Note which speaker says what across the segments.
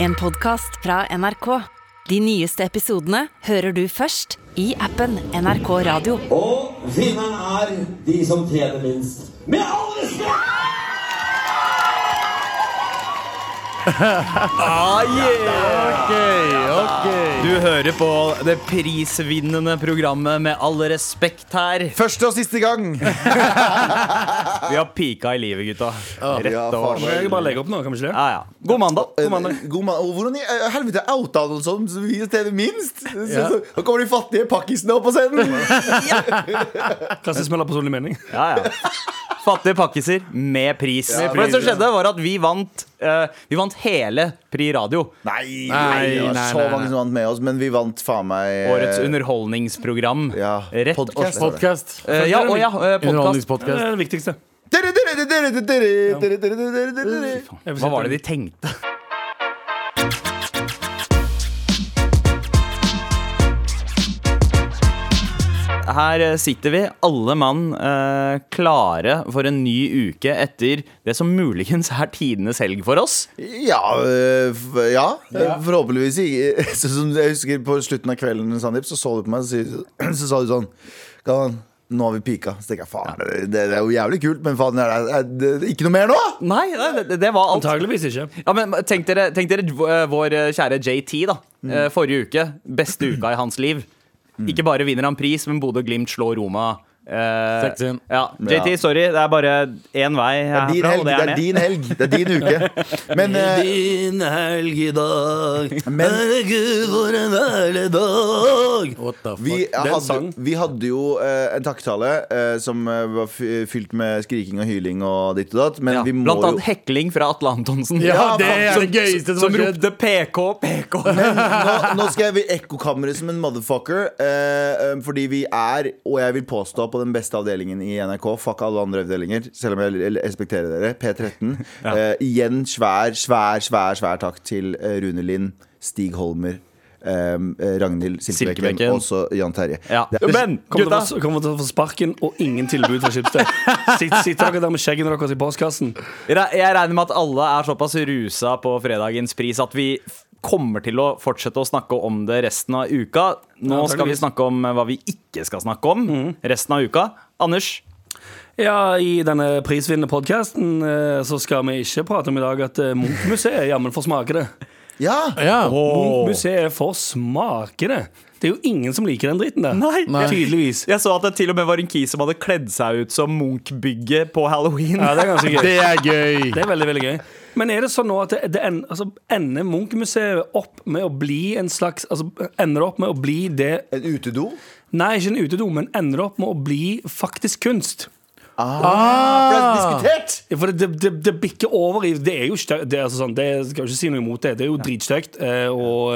Speaker 1: En podcast fra NRK. De nyeste episodene hører du først i appen NRK Radio.
Speaker 2: Og vinneren er de som tjener minst. Med all respekt!
Speaker 3: Ok, ok
Speaker 4: Du hører på det prisvinnende programmet Med all respekt her
Speaker 5: Første og siste gang!
Speaker 4: Vi har pika i livet, gutta Rett
Speaker 5: Ja,
Speaker 4: over
Speaker 5: faen.
Speaker 3: Kan vi bare legge opp nå, kan vi ikke det?
Speaker 4: ja, ja. God mandag, god mandag.
Speaker 5: God mann. Og hvordan i eh, helvete outa han som sånn, vi tjener minst? Så, så, nå kommer de fattige pakkisene opp på scenen!
Speaker 3: Rasisme eller personlig mening?
Speaker 4: Ja, ja. Fattige pakkiser med pris
Speaker 5: Med
Speaker 4: For det som
Speaker 5: pris, ja.
Speaker 4: skjedde var at vi vant eh, Vi vant hele Pri Radio
Speaker 5: Nei,
Speaker 3: Nei,
Speaker 5: det var
Speaker 3: nei,
Speaker 5: så
Speaker 3: nei,
Speaker 5: mange
Speaker 3: nei.
Speaker 5: som vant med oss, men vi vant faen meg eh,
Speaker 4: Årets underholdningsprogram
Speaker 5: ja,
Speaker 4: Rett og
Speaker 5: podcast.
Speaker 4: slett
Speaker 6: Podcast.
Speaker 4: Eh, ja, og ja, eh, podcast.
Speaker 3: Det
Speaker 6: Underholdningspodkast.
Speaker 3: er det viktigste.
Speaker 5: Dere, dere, dere, dere, dere, dere, dere, dere, dere, dere.
Speaker 4: Hva var det de tenkte? Her eh, sitter vi, alle mann, eh, klare for en ny uke etter det som muligens er tidenes helg for oss.
Speaker 5: Ja, øh, f- ja, forhåpentligvis ikke. Så som jeg husker på slutten av kvelden, Sandeep, så så du på meg og så, så sa du sånn Galvan, nå har vi pika. Så tenker jeg faen, det, det er jo jævlig kult, men faen, er det, er det, ikke noe mer nå?
Speaker 4: Nei, nei det, det var alt.
Speaker 3: Antageligvis ikke.
Speaker 4: Ja, men tenk dere, tenk dere eh, vår eh, kjære JT, da. Eh, Forrige uke. Beste uka i hans liv. Ikke bare vinner han pris, men Bodø-Glimt slår Roma. Eh,
Speaker 6: Seks inn.
Speaker 4: ja. JT, sorry. Det er bare én vei
Speaker 5: Din
Speaker 4: herfra,
Speaker 5: helg,
Speaker 4: og det er ned.
Speaker 5: din helg, det er din uke. Men eh,
Speaker 3: Din helg i dag.
Speaker 5: Men-
Speaker 3: Herregud, for en herlig dag.
Speaker 6: What the fuck?
Speaker 5: eh, vi,
Speaker 3: er en
Speaker 5: hadde,
Speaker 3: sang.
Speaker 5: vi hadde jo eh, en takketale eh, som eh, var fy- fylt med skriking og hyling og ditt og datt, men
Speaker 4: Ja,
Speaker 5: vi må
Speaker 4: Blant
Speaker 5: jo
Speaker 4: annet hekling fra Atle Antonsen.
Speaker 6: Ja,
Speaker 5: Ja,
Speaker 6: det er det gøyeste som
Speaker 4: Som
Speaker 6: har skjedd.
Speaker 4: ropte PK, PK.
Speaker 5: nå, nå skal jeg bli ekkokammeret som en motherfucker. Eh, eh, fordi vi er, og jeg vil påstå, på den beste avdelingen i NRK. Fuck alle andre avdelinger, selv om jeg l- respekterer dere. P13. Eh, igjen svær, svær, svær svær takk til eh, Rune Lind, Stig Holmer, eh, eh, Ragnhild Silkebekken
Speaker 4: Silkebekken.
Speaker 5: og også Jan Terje.
Speaker 4: Ja.
Speaker 5: Det er-
Speaker 4: Men
Speaker 3: Kommer
Speaker 4: gutta,
Speaker 3: til, å- kommer til å få sparken og ingen tilbud fra Schibsted. Sitt- Sitter dere der med skjeggene deres i postkassen?
Speaker 4: re- jeg regner med at alle er såpass rusa på fredagens pris at vi f- kommer til å fortsette å snakke om det resten av uka. Nå
Speaker 3: Ja,
Speaker 4: skal vi
Speaker 3: antageligvis.
Speaker 4: snakke om eh, hva vi ikke skal snakke om resten av uka. Anders,
Speaker 3: Ja, I denne prisvinnende podkasten så skal vi ikke prate om i dag at eh, Munch-museet jammen får smake det.
Speaker 5: ja.
Speaker 6: Ja.
Speaker 3: Munch-museet får smake det. Det er jo ingen som liker den dritten der.
Speaker 4: Nei. Nei.
Speaker 3: Tydeligvis.
Speaker 4: jeg så at det til og med var en kis som hadde kledd seg ut som Munch-bygget på halloween.
Speaker 3: Ja, det er ganske gøy.
Speaker 6: Det er gøy.
Speaker 3: Det er veldig, veldig gøy. Men er det sånn nå at det, det en, altså, ender Munch-museet opp med å bli en slags altså, Ender det opp med å bli det
Speaker 5: En utedo?
Speaker 3: Nei, ikke en utedo, men ender det opp med å bli faktisk kunst?
Speaker 5: For det er diskutert!
Speaker 3: Ja, For det, det, det, det bikker over i Det er jo stø- det er altså sånn, det skal jo ikke si noe imot det. Det er jo dritstygt. eh, Og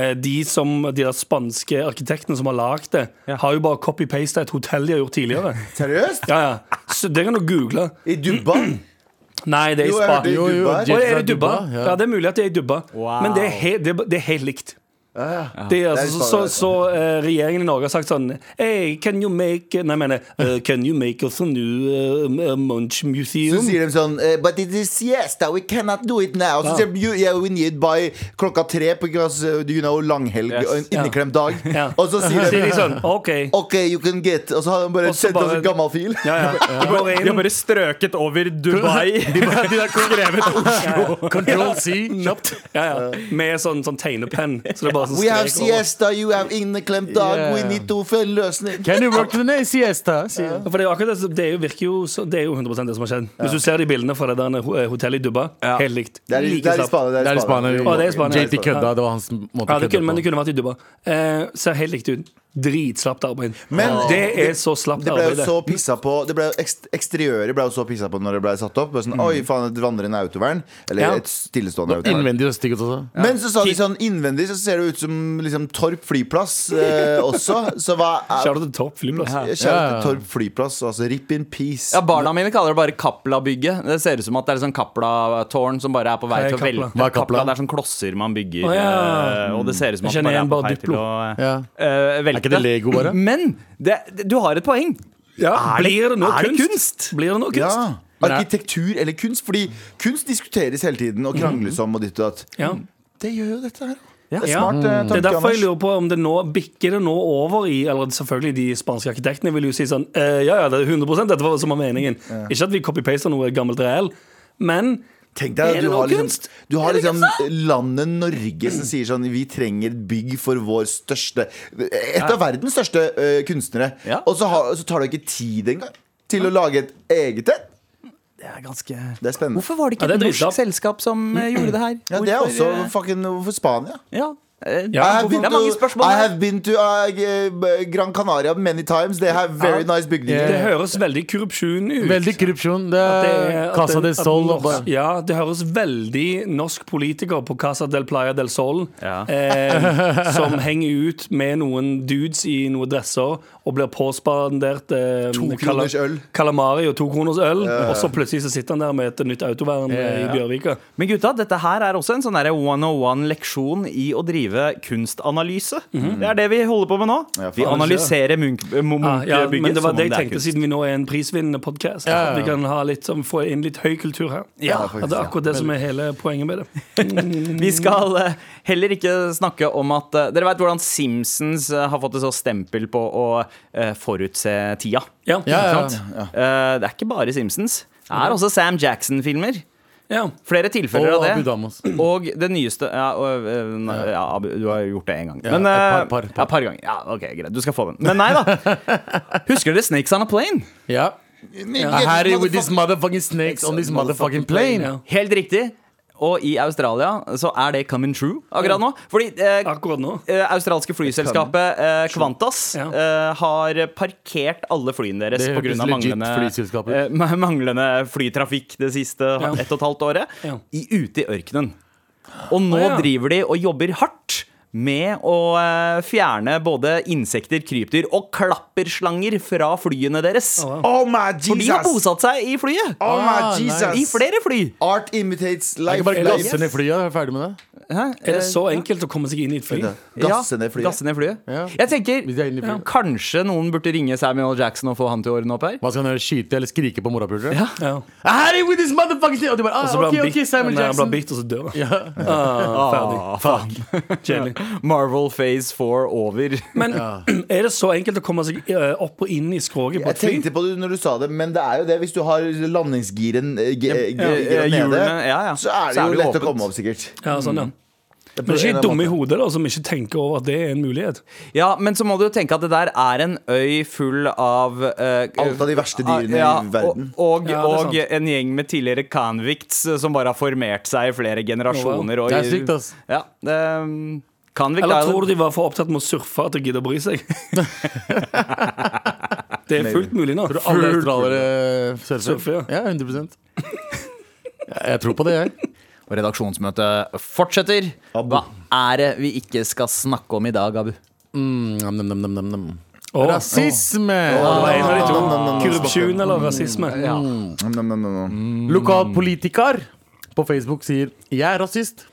Speaker 3: eh, de, som, de der spanske arkitektene som har lagd det, har jo bare copy-pasta et hotell de har gjort tidligere.
Speaker 5: Seriøst?
Speaker 3: Ja, ja. Så det kan du google.
Speaker 5: I Dubba?
Speaker 3: Nei, det er
Speaker 5: Jo,
Speaker 3: i
Speaker 5: jeg
Speaker 3: Spa.
Speaker 5: hørte i
Speaker 6: Jo, jo,
Speaker 5: Dubba.
Speaker 6: Jay-
Speaker 3: Å, er
Speaker 6: fra
Speaker 3: det dubba?
Speaker 6: Dubba,
Speaker 3: Ja.
Speaker 6: ja.
Speaker 3: det er mulig at det er dubba.
Speaker 4: Wow.
Speaker 3: Men det er, he det, er- det er helt likt. Det er, altså,
Speaker 5: Det er
Speaker 3: så så,
Speaker 5: sant.
Speaker 3: så eh, regjeringen i Norge har sagt sånn hey, Can you make Nei, jeg mener eh, Can you make us a new eh, eh, Munch
Speaker 5: Så
Speaker 3: museum?
Speaker 5: sier de sånn eh, But it is siesta, we cannot do it now. Så
Speaker 3: Ja.
Speaker 5: sier de you, yeah, we need by klokka tre because uh, you know, langhelg
Speaker 4: Yes.
Speaker 5: og en inneklemt dag.
Speaker 3: Ja.
Speaker 5: Og så sier de
Speaker 3: sånn OK.
Speaker 5: OK, you can get Og så har de bare
Speaker 3: Og så
Speaker 5: sendt oss
Speaker 3: bare-
Speaker 5: en gammel fil.
Speaker 3: Ja, ja. Du går
Speaker 4: De har
Speaker 3: inn
Speaker 4: bare strøket over Dubai.
Speaker 6: De bare- de der skrevet Oslo. Control C. Kjapt.
Speaker 3: ja, ja. med sånn, sånn tegnepenn. Så det er bare sånn
Speaker 5: We have
Speaker 3: strek over.
Speaker 5: siesta, you have inneklemt dag,
Speaker 6: Yeah.
Speaker 5: we need to finne en løsning.
Speaker 6: Can you work to the next siesta? sier de.
Speaker 3: For det er jo akkurat det, som- det er jo, virker jo så, Det er jo 100 det som har skjedd. Hvis du ser de bildene fra det der ho- eh, hotellet i Dubba,
Speaker 4: Ja.
Speaker 3: helt likt.
Speaker 5: Det er, i-
Speaker 3: Like
Speaker 5: det er i
Speaker 3: slapt.
Speaker 5: Spania.
Speaker 6: Det er i Spania.
Speaker 3: Å, det er i Spania.
Speaker 6: JT kødda. Det var hans måte
Speaker 3: Ja,
Speaker 6: å
Speaker 3: det kunne, men det
Speaker 6: kødde på.
Speaker 3: kunne vært i Dubba. Eh, ser helt likt ut. Dritslapt arbeid.
Speaker 5: Men-
Speaker 3: det er så slapt
Speaker 5: Det ble
Speaker 3: arbeid.
Speaker 5: jo
Speaker 3: det.
Speaker 5: så pissa på Det ble jo ekst Eksteriøret ble jo så pissa på når det ble satt opp. Det var Sånn, Oi, faen, et vandrende autovern. Eller
Speaker 3: Mm. Ja.
Speaker 5: et stillestående autovern.
Speaker 6: Innvendig og stygt også.
Speaker 5: Men så sa de sånn innvendig så ser det ut som liksom, Torp flyplass eh, også. Så hva er
Speaker 3: Shout out til Torp flyplass.
Speaker 5: Kjære
Speaker 6: Ja, ja.
Speaker 5: til Torp flyplass, altså rip in peace.
Speaker 4: Ja, Barna mine kaller det bare Kapla-bygget. Det ser ut som at det er et sånn Kapla-tårn som bare er på vei
Speaker 3: Hva er
Speaker 4: til å
Speaker 3: Kapla?
Speaker 4: velte.
Speaker 6: Hva er Kapla?
Speaker 4: Det er sånn klosser man bygger,
Speaker 3: Å, ja.
Speaker 4: eh, og det ser ut som at det
Speaker 3: Jeg
Speaker 4: bare
Speaker 3: kjenner
Speaker 4: er på
Speaker 3: igjen
Speaker 4: vei
Speaker 3: bare
Speaker 4: til å
Speaker 6: Ja.
Speaker 4: eh, velte.
Speaker 6: Er ikke det Lego bare?
Speaker 4: Men det, det- du har et poeng.
Speaker 3: Ja,
Speaker 4: Er det-
Speaker 3: blir det noe
Speaker 4: er det
Speaker 3: kunst?
Speaker 4: kunst?
Speaker 3: Blir det noe kunst?
Speaker 5: Ja. Arkitektur eller kunst? Fordi kunst diskuteres hele tiden og krangles om og ditt og datt.
Speaker 3: Ja. Mm.
Speaker 5: Det gjør jo dette her.
Speaker 4: Ja.
Speaker 5: Det er smart eh,
Speaker 3: Det
Speaker 5: tanke,
Speaker 3: er derfor jeg
Speaker 5: Anders.
Speaker 3: lurer på om det nå bikker det nå over i Eller selvfølgelig de spanske arkitektene vil jo si sånn eh, Ja, ja, det er 100 dette var det som var meningen. Ikke at vi copy-paster noe gammelt reell, men
Speaker 5: Tenk deg
Speaker 3: Er
Speaker 5: at
Speaker 3: det
Speaker 5: du
Speaker 3: noe
Speaker 5: har liksom,
Speaker 3: kunst?
Speaker 5: du har liksom landet Norge som sier sånn Vi trenger et bygg for vår største Et av verdens største ø, kunstnere.
Speaker 4: Ja.
Speaker 5: Og så, har, så tar det ikke tid engang til å lage et eget et.
Speaker 4: Det er ganske
Speaker 5: Det er spennende.
Speaker 4: Hvorfor var det ikke
Speaker 3: Ja, det er
Speaker 4: et norsk
Speaker 3: drita.
Speaker 4: selskap som eh, gjorde det her?
Speaker 5: Ja, det er
Speaker 4: Hvorfor,
Speaker 5: også
Speaker 4: eh,
Speaker 5: fucking Hvorfor Spania?
Speaker 4: ja. Eh,
Speaker 3: Ja,
Speaker 5: I have
Speaker 4: Det
Speaker 5: been
Speaker 4: er mange
Speaker 5: to,
Speaker 4: spørsmål.
Speaker 5: I
Speaker 4: her.
Speaker 5: have been to uh, Gran Canaria many times. They have very nice bygninger.
Speaker 3: det høres veldig korrupsjon ut.
Speaker 6: Eh, Veldig korrupsjon. Det
Speaker 3: At det-
Speaker 6: er
Speaker 3: at
Speaker 6: Casa
Speaker 3: den-
Speaker 6: del
Speaker 3: at
Speaker 6: Sol. altså.
Speaker 3: norsk-
Speaker 6: og bare-
Speaker 3: Ja, det høres veldig norsk politiker på Casa del Playa del Sol
Speaker 4: Ja.
Speaker 3: eh, som henger ut med noen dudes i noen dresser og blir påspandert eh,
Speaker 5: To kroners øl.
Speaker 3: Kalamari og to kroners øl, og så plutselig så sitter han der med et nytt autovern eh, i Bjørvika.
Speaker 4: Men gutta, dette her er også en sånn 101-leksjon i å drive kunstanalyse. Det er det vi holder på med nå.
Speaker 5: Mm-hmm. Ja, faen,
Speaker 4: vi analyserer Munch- eh, Munch-
Speaker 3: Ja, Ah, ja,
Speaker 4: bygget
Speaker 3: men det var
Speaker 4: som
Speaker 3: det
Speaker 4: om
Speaker 3: jeg
Speaker 4: er
Speaker 3: tenkte,
Speaker 4: kunst.
Speaker 3: siden vi nå er en prisvinnende podkast.
Speaker 6: Ja, ja,
Speaker 3: At vi
Speaker 6: ja.
Speaker 3: kan ha litt, sånn, få inn litt høy kultur her.
Speaker 4: Ja,
Speaker 5: Ja, faktisk,
Speaker 3: det er akkurat det som er hele poenget med det.
Speaker 4: Vi skal eh, heller ikke snakke om at eh, Dere vet hvordan Simpsons eh, har fått et så stempel på å eh, forutse tida.
Speaker 3: Ja,
Speaker 6: Ja, ja, ja.
Speaker 4: Eh, det er ikke bare Simpsons. Det
Speaker 5: Mm-hmm.
Speaker 4: er også Sam Jackson-filmer.
Speaker 3: ja.
Speaker 4: Flere tilfeller
Speaker 6: Og
Speaker 4: av
Speaker 6: Abu
Speaker 4: det.
Speaker 6: Damos.
Speaker 4: Og det nyeste ja, og, eh, nei, ja, Abu, du har gjort det én gang. Men,
Speaker 6: et
Speaker 4: eh,
Speaker 6: par- par- par.
Speaker 4: Ja, par ganger. Ja, ok, greit. Du skal få den. Men nei da. Husker dere Snakes on a Plane?
Speaker 6: Ja.
Speaker 5: Yeah,
Speaker 6: Harry
Speaker 5: motherfucker.
Speaker 6: with these motherfucking snakes on this motherfucking plane.
Speaker 3: ja.
Speaker 4: Helt riktig. Og i Australia så er det coming true akkurat nå. Fordi eh,
Speaker 3: Akkurat nå.
Speaker 4: Eh, australske flyselskapet eh, Qantas
Speaker 3: Ja.
Speaker 4: eh, har parkert alle flyene deres
Speaker 6: Det
Speaker 4: pga.
Speaker 6: hørtes legit
Speaker 4: Manglende,
Speaker 6: flyselskap ut.
Speaker 4: eh, ma- manglende flytrafikk det siste
Speaker 3: Ja.
Speaker 4: ett og et halvt året.
Speaker 3: Ja.
Speaker 4: I, ute i ørkenen. Og nå
Speaker 3: Å, ja.
Speaker 4: driver de og jobber hardt med å eh, fjerne både insekter, krypdyr og klapperslanger fra flyene deres.
Speaker 5: Oh my
Speaker 4: For de har
Speaker 5: Jesus!
Speaker 4: bosatt seg i flyet!
Speaker 5: Oh my
Speaker 6: Ah,
Speaker 5: Jesus!
Speaker 4: I flere fly!
Speaker 5: Art imitates
Speaker 6: Jeg
Speaker 5: life.
Speaker 6: kan bare
Speaker 5: Eller-
Speaker 6: glasse ned flyet og være ferdig med det. Eh,
Speaker 3: Er det så enkelt å komme seg inn i et fly?
Speaker 5: Gasse
Speaker 4: Ja,
Speaker 5: ned flyet.
Speaker 4: Gasse ned flyet.
Speaker 6: Ja.
Speaker 4: Jeg tenker
Speaker 6: Hvis de er inne i
Speaker 4: ja,
Speaker 6: flyet.
Speaker 4: kanskje noen burde ringe Samuel Jackson og få han til å ordne opp her.
Speaker 6: Hva skal han gjøre? Skyte eller skrike på morapulere?
Speaker 4: Ja.
Speaker 3: Ja.
Speaker 4: Ah,
Speaker 6: Harry with his motherfucking snakes! Og de bare
Speaker 3: Og
Speaker 6: ah,
Speaker 3: så ble
Speaker 6: OK,
Speaker 3: han
Speaker 6: OK,
Speaker 3: bitt,
Speaker 6: Samuel
Speaker 3: Nei, han ble
Speaker 6: Jackson.
Speaker 3: bitt og så dør han.
Speaker 6: Ja.
Speaker 3: Ah, ferdig.
Speaker 4: Ah, faen.
Speaker 3: Kjedelig.
Speaker 4: Marvel Phase 4 over.
Speaker 3: Men er det så enkelt å komme seg eh, opp og inn i skroget på
Speaker 5: Jeg
Speaker 3: et fly?
Speaker 5: tenkte på det når du sa det, men det er jo det. Hvis du har landingsgiren eh, ge- ge-
Speaker 4: eh,
Speaker 5: giren nede,
Speaker 4: hjulene, ja, ja.
Speaker 5: så er det
Speaker 4: Så er det
Speaker 5: jo
Speaker 4: jo
Speaker 5: lett å
Speaker 4: åpent.
Speaker 5: komme opp, sikkert.
Speaker 3: Ja, sånn, ja.
Speaker 5: Mm. Det er på
Speaker 3: Men
Speaker 5: en
Speaker 3: ikke
Speaker 5: eller
Speaker 3: dumme i
Speaker 5: annen måte.
Speaker 3: hodet da, som ikke tenker over at det er en mulighet.
Speaker 4: Ja, men så må du jo tenke at det der er en øy full av eh,
Speaker 5: Alt av de verste dyrene i verden.
Speaker 4: Og, og,
Speaker 3: Ja, det er sant.
Speaker 4: og en gjeng med tidligere convicts eh, som bare har formert seg i flere generasjoner. Og,
Speaker 6: Det er sykt, ass.
Speaker 4: Ja, eh, convict
Speaker 3: Eller
Speaker 4: er jo-
Speaker 3: tror du de var for opptatt med å surfe at de gidder å bry seg? det er fullt mulig nå.
Speaker 6: Alle australiere eh, surfer.
Speaker 3: Surfer,
Speaker 6: Ja, 100 Ja, Jeg tror på det, jeg.
Speaker 4: Og redaksjonsmøtet fortsetter.
Speaker 5: Abu.
Speaker 4: Hva er det vi ikke skal snakke om i dag, Abu?
Speaker 6: Mm, nam, nam, nam, nam, nam.
Speaker 3: Å,
Speaker 6: Rasisme!
Speaker 3: det var en av de
Speaker 5: Nå, nå, nå, nå,
Speaker 3: to. Korrupsjon eller rasisme.
Speaker 5: Nå, nå, nå, nå.
Speaker 6: Lokalpolitiker på Facebook sier 'jeg er rasist'.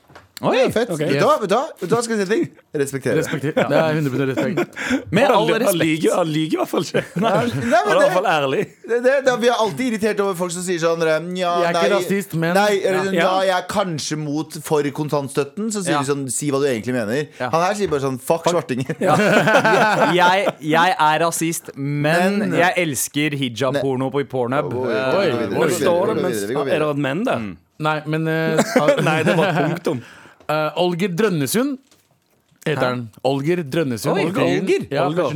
Speaker 4: Oi,
Speaker 5: Det er Fett. Vet du hva? Vet du hva? Vet du hva skal jeg si en ting? Respektere. det.
Speaker 6: Respekter. Det er 100 respekt.
Speaker 4: Med all
Speaker 3: Han lyver han
Speaker 4: respekt.
Speaker 3: lyver- han lyver i hvert fall ikke.
Speaker 5: Ja,
Speaker 3: Han
Speaker 5: Nei,
Speaker 3: er i hvert
Speaker 5: men
Speaker 3: fall ærlig.
Speaker 5: det, det, det, vi er alltid irritert over folk som sier sånn Nja,
Speaker 6: Jeg
Speaker 5: nei,
Speaker 6: er ikke rasist, men-
Speaker 5: nei, eller,
Speaker 3: Ja.
Speaker 5: ja. jeg er kanskje mot for kontantstøtten. Så sier
Speaker 4: Ja.
Speaker 5: de sånn Si hva du egentlig mener. Han her sier bare sånn Fuck, svartinger.
Speaker 4: Jeg, jeg er rasist, men,
Speaker 5: Men-
Speaker 4: jeg elsker hijab-porno på pornhub.
Speaker 5: Oi,
Speaker 4: Eh,
Speaker 5: oi,
Speaker 6: oi,
Speaker 5: går videre,
Speaker 3: Men står
Speaker 5: vi går
Speaker 3: det mens
Speaker 5: videre, vi går
Speaker 3: Er
Speaker 5: videre. Mm.
Speaker 3: det et menn der?
Speaker 6: Nei, men eh,
Speaker 3: Nei, det var punktum.
Speaker 6: Eh, Olger Drønnesund heter han. Olger Drønnesund.
Speaker 4: Oi,
Speaker 6: Olger.
Speaker 4: Olger.
Speaker 6: Ja,
Speaker 3: Olger.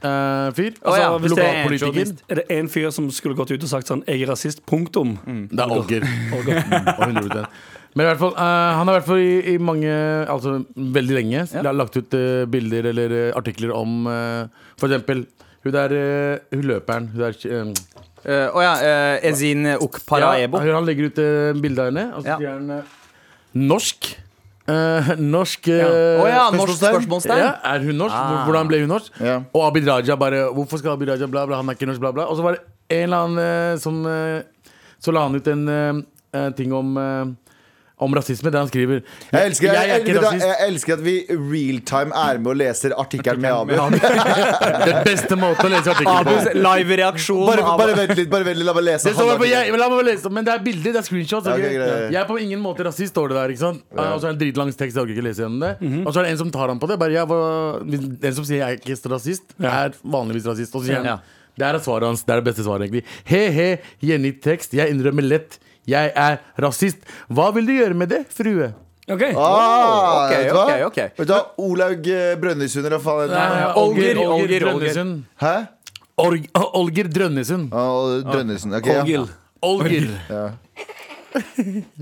Speaker 6: Pensjonistparti-fyr.
Speaker 4: Å ja, hvis det er en
Speaker 6: lokalpolitiker.
Speaker 4: journalist.
Speaker 3: Er det en fyr som skulle gått ut og sagt sånn Jeg er rasist, punktum?
Speaker 6: Det er Olger. Mm, og 100%. Men i hvert fall, eh, han har i hvert fall i, i mange, altså veldig lenge,
Speaker 4: Ja.
Speaker 6: lagt ut eh, bilder eller eh, artikler om eh, for eksempel hun der eh, Hun løperen. Hun der eh,
Speaker 4: eh, Å ja. eh, Ezin Okparaebo.
Speaker 6: Ja, han legger ut eh, bilde av henne, og så
Speaker 4: Ja.
Speaker 6: sier han eh, norsk. Eh, norsk eh,
Speaker 4: Å ja, norsk Ah.
Speaker 5: Spørsmålstegn?
Speaker 4: spørsmålstegn.
Speaker 6: Ja, er hun norsk? Hvor- Hvordan ble hun norsk?
Speaker 5: Ja.
Speaker 6: Og Abid Raja bare Hvorfor skal Abid Raja bla, bla, han er ikke norsk, bla, bla. Og så var det en eller annen eh, som eh, Så la han ut en eh, eh, ting om eh, om rasisme, der han skriver
Speaker 5: Jeg elsker, jeg,
Speaker 6: er ikke
Speaker 5: vet du hva,
Speaker 6: rasist.
Speaker 5: jeg elsker at vi realtime er med og leser artikkelen med Abu.
Speaker 6: Den beste måten å lese artikler på.
Speaker 4: Abus live-reaksjon.
Speaker 5: Bare,
Speaker 4: av-
Speaker 5: bare vent litt, bare vent litt, la meg lese.
Speaker 6: Det
Speaker 5: han
Speaker 6: står bare på,
Speaker 5: artikkelen.
Speaker 6: jeg, men la meg bare lese det, men det er bilder, det er screenshots.
Speaker 5: Ja,
Speaker 6: ok?
Speaker 5: ok, greit.
Speaker 6: Jeg er på ingen måte rasist, står det der. ikke sant? Og så er det en dritlang tekst, jeg orker ikke lese gjennom det. Og så er det en som tar han på det. bare, ja, hva- Den som sier jeg er ikke rasist, er vanligvis rasist. Og så sier han,
Speaker 4: Ja.
Speaker 6: Det er svaret hans, det er det beste svaret, egentlig. He-he, Jenny Tekst, jeg innrømmer lett. Jeg er rasist. Hva vil du gjøre med det, frue?
Speaker 3: Ok.
Speaker 5: Ah,
Speaker 4: Ok,
Speaker 5: vet du hva?
Speaker 4: ok, ok.
Speaker 5: Vet du hva? Olaug eh, Brønnøysunder og faen
Speaker 6: Nei,
Speaker 4: Olger, Olger,
Speaker 6: Drønnesund.
Speaker 5: Hæ?
Speaker 6: Org- Olger Drønnesund.
Speaker 5: Ah, Drønnesen. ok, ja.
Speaker 3: Orgil.
Speaker 6: Olger.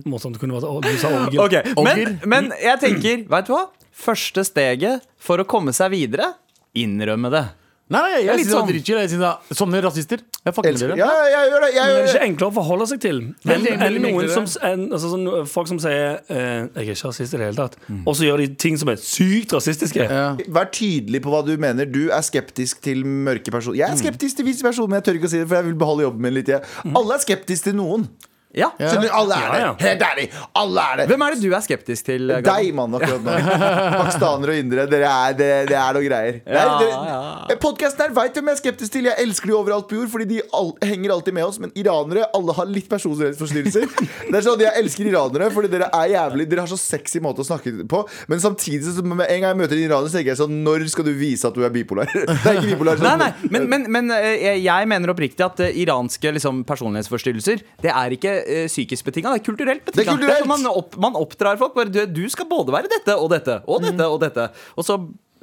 Speaker 3: Morsomt det kunne vært å- Du sa orgil.
Speaker 4: Ok, men,
Speaker 6: Ogger.
Speaker 4: men jeg tenker, vet du hva? Første steget for å komme seg videre, innrømme det.
Speaker 6: Nei, jeg,
Speaker 4: er
Speaker 6: jeg
Speaker 4: litt
Speaker 6: syns det var
Speaker 4: sånn.
Speaker 6: dritchill. Jeg synes det- Sånne rasister. Jeg fucker med
Speaker 5: Elsker.
Speaker 6: dere.
Speaker 5: Ja, jeg gjør det. Jeg
Speaker 3: Men er
Speaker 5: gjør
Speaker 3: det
Speaker 5: det.
Speaker 3: ikke enklere å forholde seg til enn
Speaker 6: Veldig
Speaker 3: enn
Speaker 6: mye
Speaker 3: noen
Speaker 6: enklere.
Speaker 3: som enn- altså, sånn, folk som sier eh, 'jeg er ikke rasist i det hele tatt', og så gjør de ting som er sykt rasistiske?
Speaker 6: Ja.
Speaker 5: Vær tydelig på hva du mener. Du er skeptisk til mørke personer. Jeg er
Speaker 3: Mm.
Speaker 5: skeptisk til hvite personer, men jeg tør ikke å si det, for jeg vil beholde jobben min litt. Jeg. Alle er skeptisk til noen.
Speaker 4: Ja.
Speaker 5: Skjønner du? Alle er det.
Speaker 3: Ja, ja.
Speaker 5: Helt ærlig. Alle er det.
Speaker 4: Hvem er det du er skeptisk til? Galvan?
Speaker 5: Deg, mann, akkurat nå. Pakistanere og indere, dere er, det, det er noe greier. Ja,
Speaker 4: Ja,
Speaker 5: dere, Eh, podcasten her veit hvem jeg er skeptisk til. Jeg elsker de overalt på jord, fordi de all, henger alltid med oss. Men iranere, alle har litt personlighetsforstyrrelser. det er sånn, Jeg elsker iranere, fordi dere er jævlig Dere har så sexy måte å snakke på. Men samtidig, så, med en gang jeg møter en iraner, så tenker jeg sånn Når skal du vise at du er bipolar? det er ikke bipolar.
Speaker 4: Nei,
Speaker 5: sånn-
Speaker 4: nei, men, men, men eh, jeg- jeg mener oppriktig at eh, iranske liksom, personlighetsforstyrrelser Det er ikke eh, psykisk betinga, det er kulturelt
Speaker 5: Det er
Speaker 4: betinga.
Speaker 5: kulturelt.
Speaker 4: Man, opp, man oppdrar folk. Bare, du, du skal både være dette og dette og dette og dette. Og så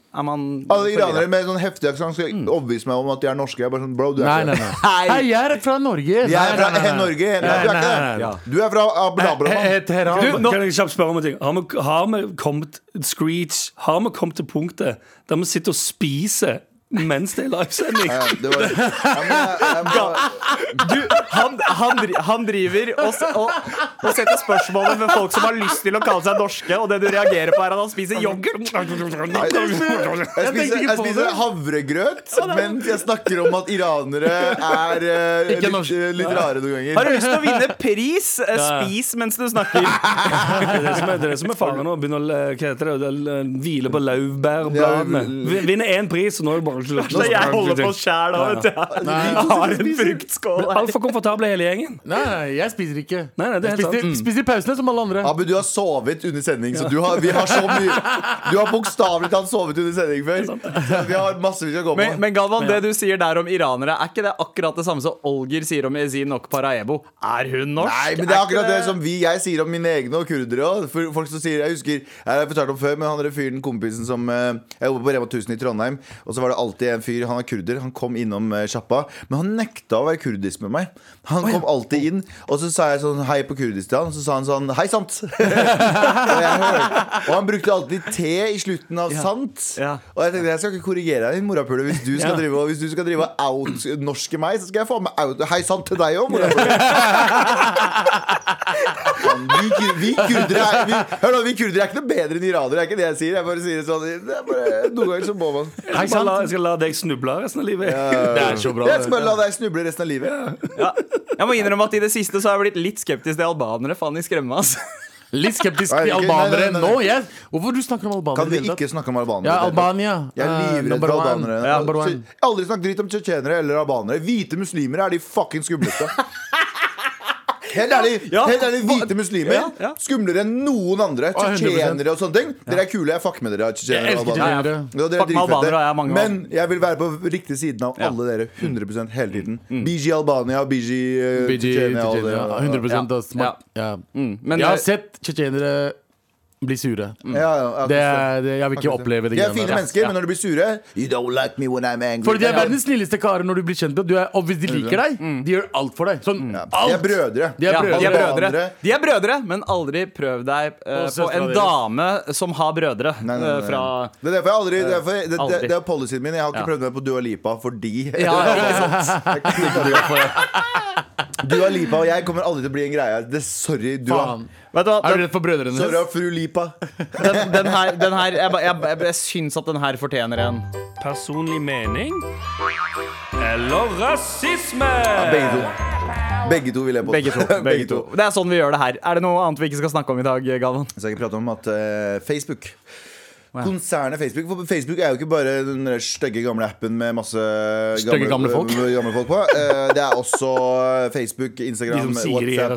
Speaker 4: er man
Speaker 5: Mm. Alle iranere
Speaker 6: Mm.
Speaker 5: med sånn heftig aksent skal overbevise meg om at de er norske. Jeg er bare sånn, bro, du er
Speaker 6: Nei,
Speaker 5: ikke
Speaker 6: nei,
Speaker 5: det.
Speaker 6: nei. Hei, jeg er fra Norge.
Speaker 5: Jeg er
Speaker 6: Nei, nei,
Speaker 5: fra
Speaker 6: nei, nei.
Speaker 5: Norge. Nei, du er
Speaker 6: Nei, nei,
Speaker 5: ikke
Speaker 6: nei,
Speaker 5: det.
Speaker 6: nei.
Speaker 5: Du er fra Abu Dhabi.
Speaker 6: Eh, eh, Teheran.
Speaker 3: Du, nå, kan jeg kjapt spørre om en ting Har vi, har vi kommet Screech, har vi kommet til punktet der vi sitter og spiser mens det er livesending?
Speaker 5: Ja, Eh, det var, ja, men jeg, jeg må,
Speaker 4: Du, han, han, dri- han driver og, s- og, og setter spørsmålet med folk som har lyst til å kalle seg norske, og det du reagerer på, er at han spiser yoghurt.
Speaker 5: jeg, spiser,
Speaker 6: tenkte ikke
Speaker 5: jeg
Speaker 6: på
Speaker 5: spiser
Speaker 6: det.
Speaker 5: havregrøt mens jeg snakker om at iranere er eh,
Speaker 6: Ikke
Speaker 5: litt,
Speaker 6: norsk.
Speaker 5: eh, litt rare noen
Speaker 4: Har
Speaker 5: ganger.
Speaker 4: du lyst til å vinne pris, eh,
Speaker 3: Ja, ja.
Speaker 4: spis mens du snakker.
Speaker 3: Det er det som er, det er, det som er faren nå. Begynne å eh, hva heter det, eh, hvile på laurbærbladene. Vi- Vinne én pris, og nå er det bare
Speaker 4: Så jeg holder på sjæl òg, vet du. Jeg har en fruktskål her.
Speaker 3: Altfor komfortable hele gjengen.
Speaker 6: Nei, nei, jeg spiser ikke.
Speaker 3: Nei, nei, det er
Speaker 6: jeg
Speaker 3: helt
Speaker 6: spiser,
Speaker 3: sant. Mm.
Speaker 6: spiser i pausene som alle andre.
Speaker 5: Abu, du har sovet under sending, så du har, vi har så mye Du har bokstavelig talt sovet under sending før. Så vi har masse vi skal gå på.
Speaker 4: Men, men Galvan, det du sier der om iranere, er ikke det akkurat det samme som Olger sier om Ezin Ok Paraebo? Er hun norsk?
Speaker 5: Nei, men det er akkurat
Speaker 4: ikke
Speaker 5: det som vi, jeg sier om mine egne og kurdere òg. Folk som sier Jeg husker, jeg har fortalt om før, men han der fyren, kompisen som eh, Jeg jobber på Rema 1000 i Trondheim, og så var det alltid en fyr, han er kurder, han kom innom eh, sjappa, men han nekta å være kurdisk med meg. Han kom alltid inn, og så sa jeg sånn hei på Kurdistan, og så sa han sånn hei sant. og, jeg hørte, og han brukte alltid T i slutten av sant.
Speaker 4: Ja.
Speaker 5: Og jeg tenkte jeg skal ikke korrigere deg, din morapule. Hvis du skal
Speaker 3: Ja.
Speaker 5: drive og- hvis du skal drive og out-norske meg, så skal jeg faen meg out Hei sant til deg òg, morapule. Vi, kur- vi kurdere er vi, Hør nå, vi kurdere er ikke noe bedre enn iranere. Det er ikke det jeg sier. Jeg bare sier det sånn det er bare, Noen ganger så må man
Speaker 3: Jeg skal, la, jeg skal la deg snuble resten av livet.
Speaker 6: Det er så bra.
Speaker 5: Jeg skal bare la deg snuble resten av livet.
Speaker 4: Ja. Jeg må innrømme at i det siste så har jeg blitt litt skeptisk til albanere. Faen, de skremmer meg, altså.
Speaker 6: Litt skeptisk
Speaker 5: Nei,
Speaker 6: til
Speaker 5: ikke-
Speaker 6: albanere
Speaker 5: nei, nei, nei,
Speaker 6: nå.
Speaker 5: nei.
Speaker 6: Jeg. Hvorfor du snakker om albanere?
Speaker 5: Kan vi
Speaker 6: i det hele
Speaker 5: ikke
Speaker 6: tatt?
Speaker 5: snakke om albanere?
Speaker 6: Ja, Albania.
Speaker 5: Jeg
Speaker 6: Eh,
Speaker 5: er livredd
Speaker 6: number
Speaker 5: for
Speaker 6: one.
Speaker 5: albanere.
Speaker 6: Ja, number
Speaker 5: Så
Speaker 6: one.
Speaker 5: jeg har Aldri snakk dritt om tsjetsjenere eller albanere. Hvite muslimer er de fucking skumleste. Helt ærlig,
Speaker 4: Ja.
Speaker 5: helt ærlig hvite muslimer
Speaker 4: Ja, ja.
Speaker 5: skumlere enn noen andre.
Speaker 6: Å, 100%.
Speaker 5: Tsjetsjenere og sånne ting. Dere er kule. Jeg fucker med dere. tsjetsjenere
Speaker 6: Jeg
Speaker 5: og
Speaker 6: elsker
Speaker 5: albanere.
Speaker 6: tjenere.
Speaker 5: Ja, dere er
Speaker 4: Fuck med
Speaker 5: dritfette.
Speaker 4: albanere, jeg er mange av
Speaker 5: Men jeg vil være på riktig siden av alle dere 100 hele tiden.
Speaker 6: Mm.
Speaker 5: BG Albania, BG eh,
Speaker 6: BG,
Speaker 5: Tsjetsjenia, alle
Speaker 6: Tsjetsjenia.
Speaker 5: dere.
Speaker 6: 100 av smart. Ja. Mm, eh,
Speaker 4: men-
Speaker 6: Jeg har sett tsjetsjenere bli sure.
Speaker 5: Ja, ja, Mm. ja,
Speaker 6: Det er, det, jeg vil ikke
Speaker 5: akkurat det.
Speaker 6: oppleve det
Speaker 5: De er
Speaker 6: greiene
Speaker 5: fine
Speaker 6: der.
Speaker 5: mennesker, men når de blir sure You don't like me when I'm angry.
Speaker 6: Fordi de er verdens snilleste karer når du blir kjent med dem. Du er- Og hvis de
Speaker 5: Mm.
Speaker 6: liker deg, de gjør alt for deg. Sånn
Speaker 5: De er
Speaker 6: alt.
Speaker 5: brødre.
Speaker 6: De er
Speaker 4: Ja, de er
Speaker 6: brødre.
Speaker 4: brødre.
Speaker 5: Andre-
Speaker 4: De er brødre, men aldri prøv deg eh, på
Speaker 6: Og søstra
Speaker 4: en
Speaker 6: deres.
Speaker 4: dame som har brødre.
Speaker 5: Nei, nei, nei,
Speaker 4: eh,
Speaker 5: nei.
Speaker 4: Fra
Speaker 5: Det er derfor jeg aldri Det, er derfor, jeg- det, det,
Speaker 4: Aldri.
Speaker 5: det er policyen min. Jeg har ikke
Speaker 4: Ja.
Speaker 5: prøvd meg på Dua Lipa fordi
Speaker 4: ja, ikke sant?
Speaker 5: Jeg kan ikke Dua Lipa. Dua Lipa og jeg kommer aldri til å bli en greie. Det, sorry, Dua.
Speaker 6: Faen.
Speaker 4: Vet du hva,
Speaker 6: Er du
Speaker 4: den,
Speaker 6: redd for brødrene
Speaker 5: Sorry,
Speaker 6: hennes?
Speaker 5: fru Lipa.
Speaker 4: den, den her, den her Jeg, ba- jeg, jeg, jeg syns at den her fortjener en.
Speaker 3: Personlig mening eller rasisme?
Speaker 5: Begge to. Begge to vil jeg på.
Speaker 4: Begge to. Begge to. Det er sånn vi gjør det her. Er det noe annet vi ikke skal snakke om i dag, Galvan?
Speaker 5: Så jeg kan prate om at eh, Facebook Konsernet Facebook. For Facebook er jo ikke bare den der stygge gamle appen med masse
Speaker 6: Stygge gamle folk.
Speaker 5: gamle folk på. Eh, det er også eh, Facebook,
Speaker 3: De
Speaker 5: Instagram,
Speaker 3: som sier de er
Speaker 5: WhatsApp.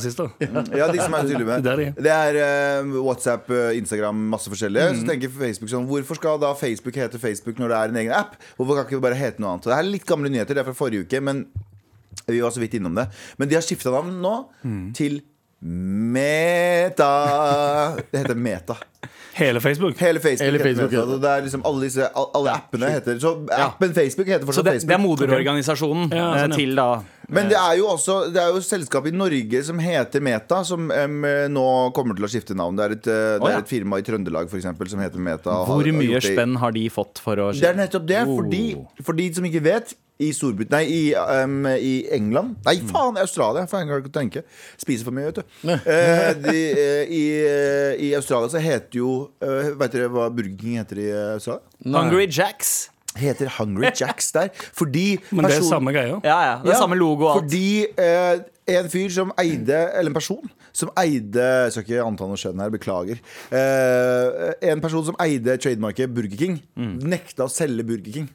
Speaker 3: rasister.
Speaker 5: Ja, de som er tydelige med.
Speaker 3: Det er de.
Speaker 5: Det er eh, WhatsApp, eh, Instagram, masse forskjellige. Så tenker Facebook sånn Hvorfor skal da Facebook hete Facebook når det er en egen app? Hvorfor kan ikke vi bare hete noe annet? Og Det her er litt gamle nyheter, det er fra forrige uke, men vi var så vidt innom det. Men de har skifta navn nå til Meta. Det heter Meta.
Speaker 3: Hele Facebook.
Speaker 5: Hele Facebook.
Speaker 6: Hele
Speaker 5: heter
Speaker 6: Facebook,
Speaker 5: Meta.
Speaker 6: ja.
Speaker 5: Så Det er liksom alle, disse, al- alle appene heter Så appen Facebook heter
Speaker 4: Så
Speaker 5: fortsatt
Speaker 4: det, det er
Speaker 5: Facebook.
Speaker 4: moderorganisasjonen
Speaker 3: Ja, sånn,
Speaker 4: eh,
Speaker 3: ja.
Speaker 4: til da
Speaker 5: Men det er jo også Det er jo et selskap i Norge som heter Meta, som em, nå kommer til å skifte navn. Det er et, eh, det
Speaker 4: ja.
Speaker 5: er et firma i Trøndelag for eksempel, som heter Meta. og har-
Speaker 4: Hvor
Speaker 5: har
Speaker 4: mye
Speaker 5: gjort det i-
Speaker 4: spenn har de fått for å
Speaker 5: Det er nettopp det.
Speaker 4: Oh.
Speaker 5: Fordi, for de som ikke vet i Storbrit... Nei, i, em, i England Nei,
Speaker 4: Mm.
Speaker 5: faen, Australia! For en gang ikke tenke. Spiser for mye, vet du. Eh, de, eh, i, eh, I Australia så heter jo eh, Vet dere hva Burger King heter i eh, Australia?
Speaker 4: Hungry Jacks.
Speaker 5: Heter Hungry Jacks der. Fordi
Speaker 3: Men det er
Speaker 5: personen-
Speaker 3: samme greia.
Speaker 4: Ja, ja. Det er samme logo og alt.
Speaker 5: fordi eh, en fyr som eide Eller en person som eide Jeg skal ikke anta noe skjønn her, beklager. Eh, en person som eide trademarket Burger King, nekta å selge Burger King.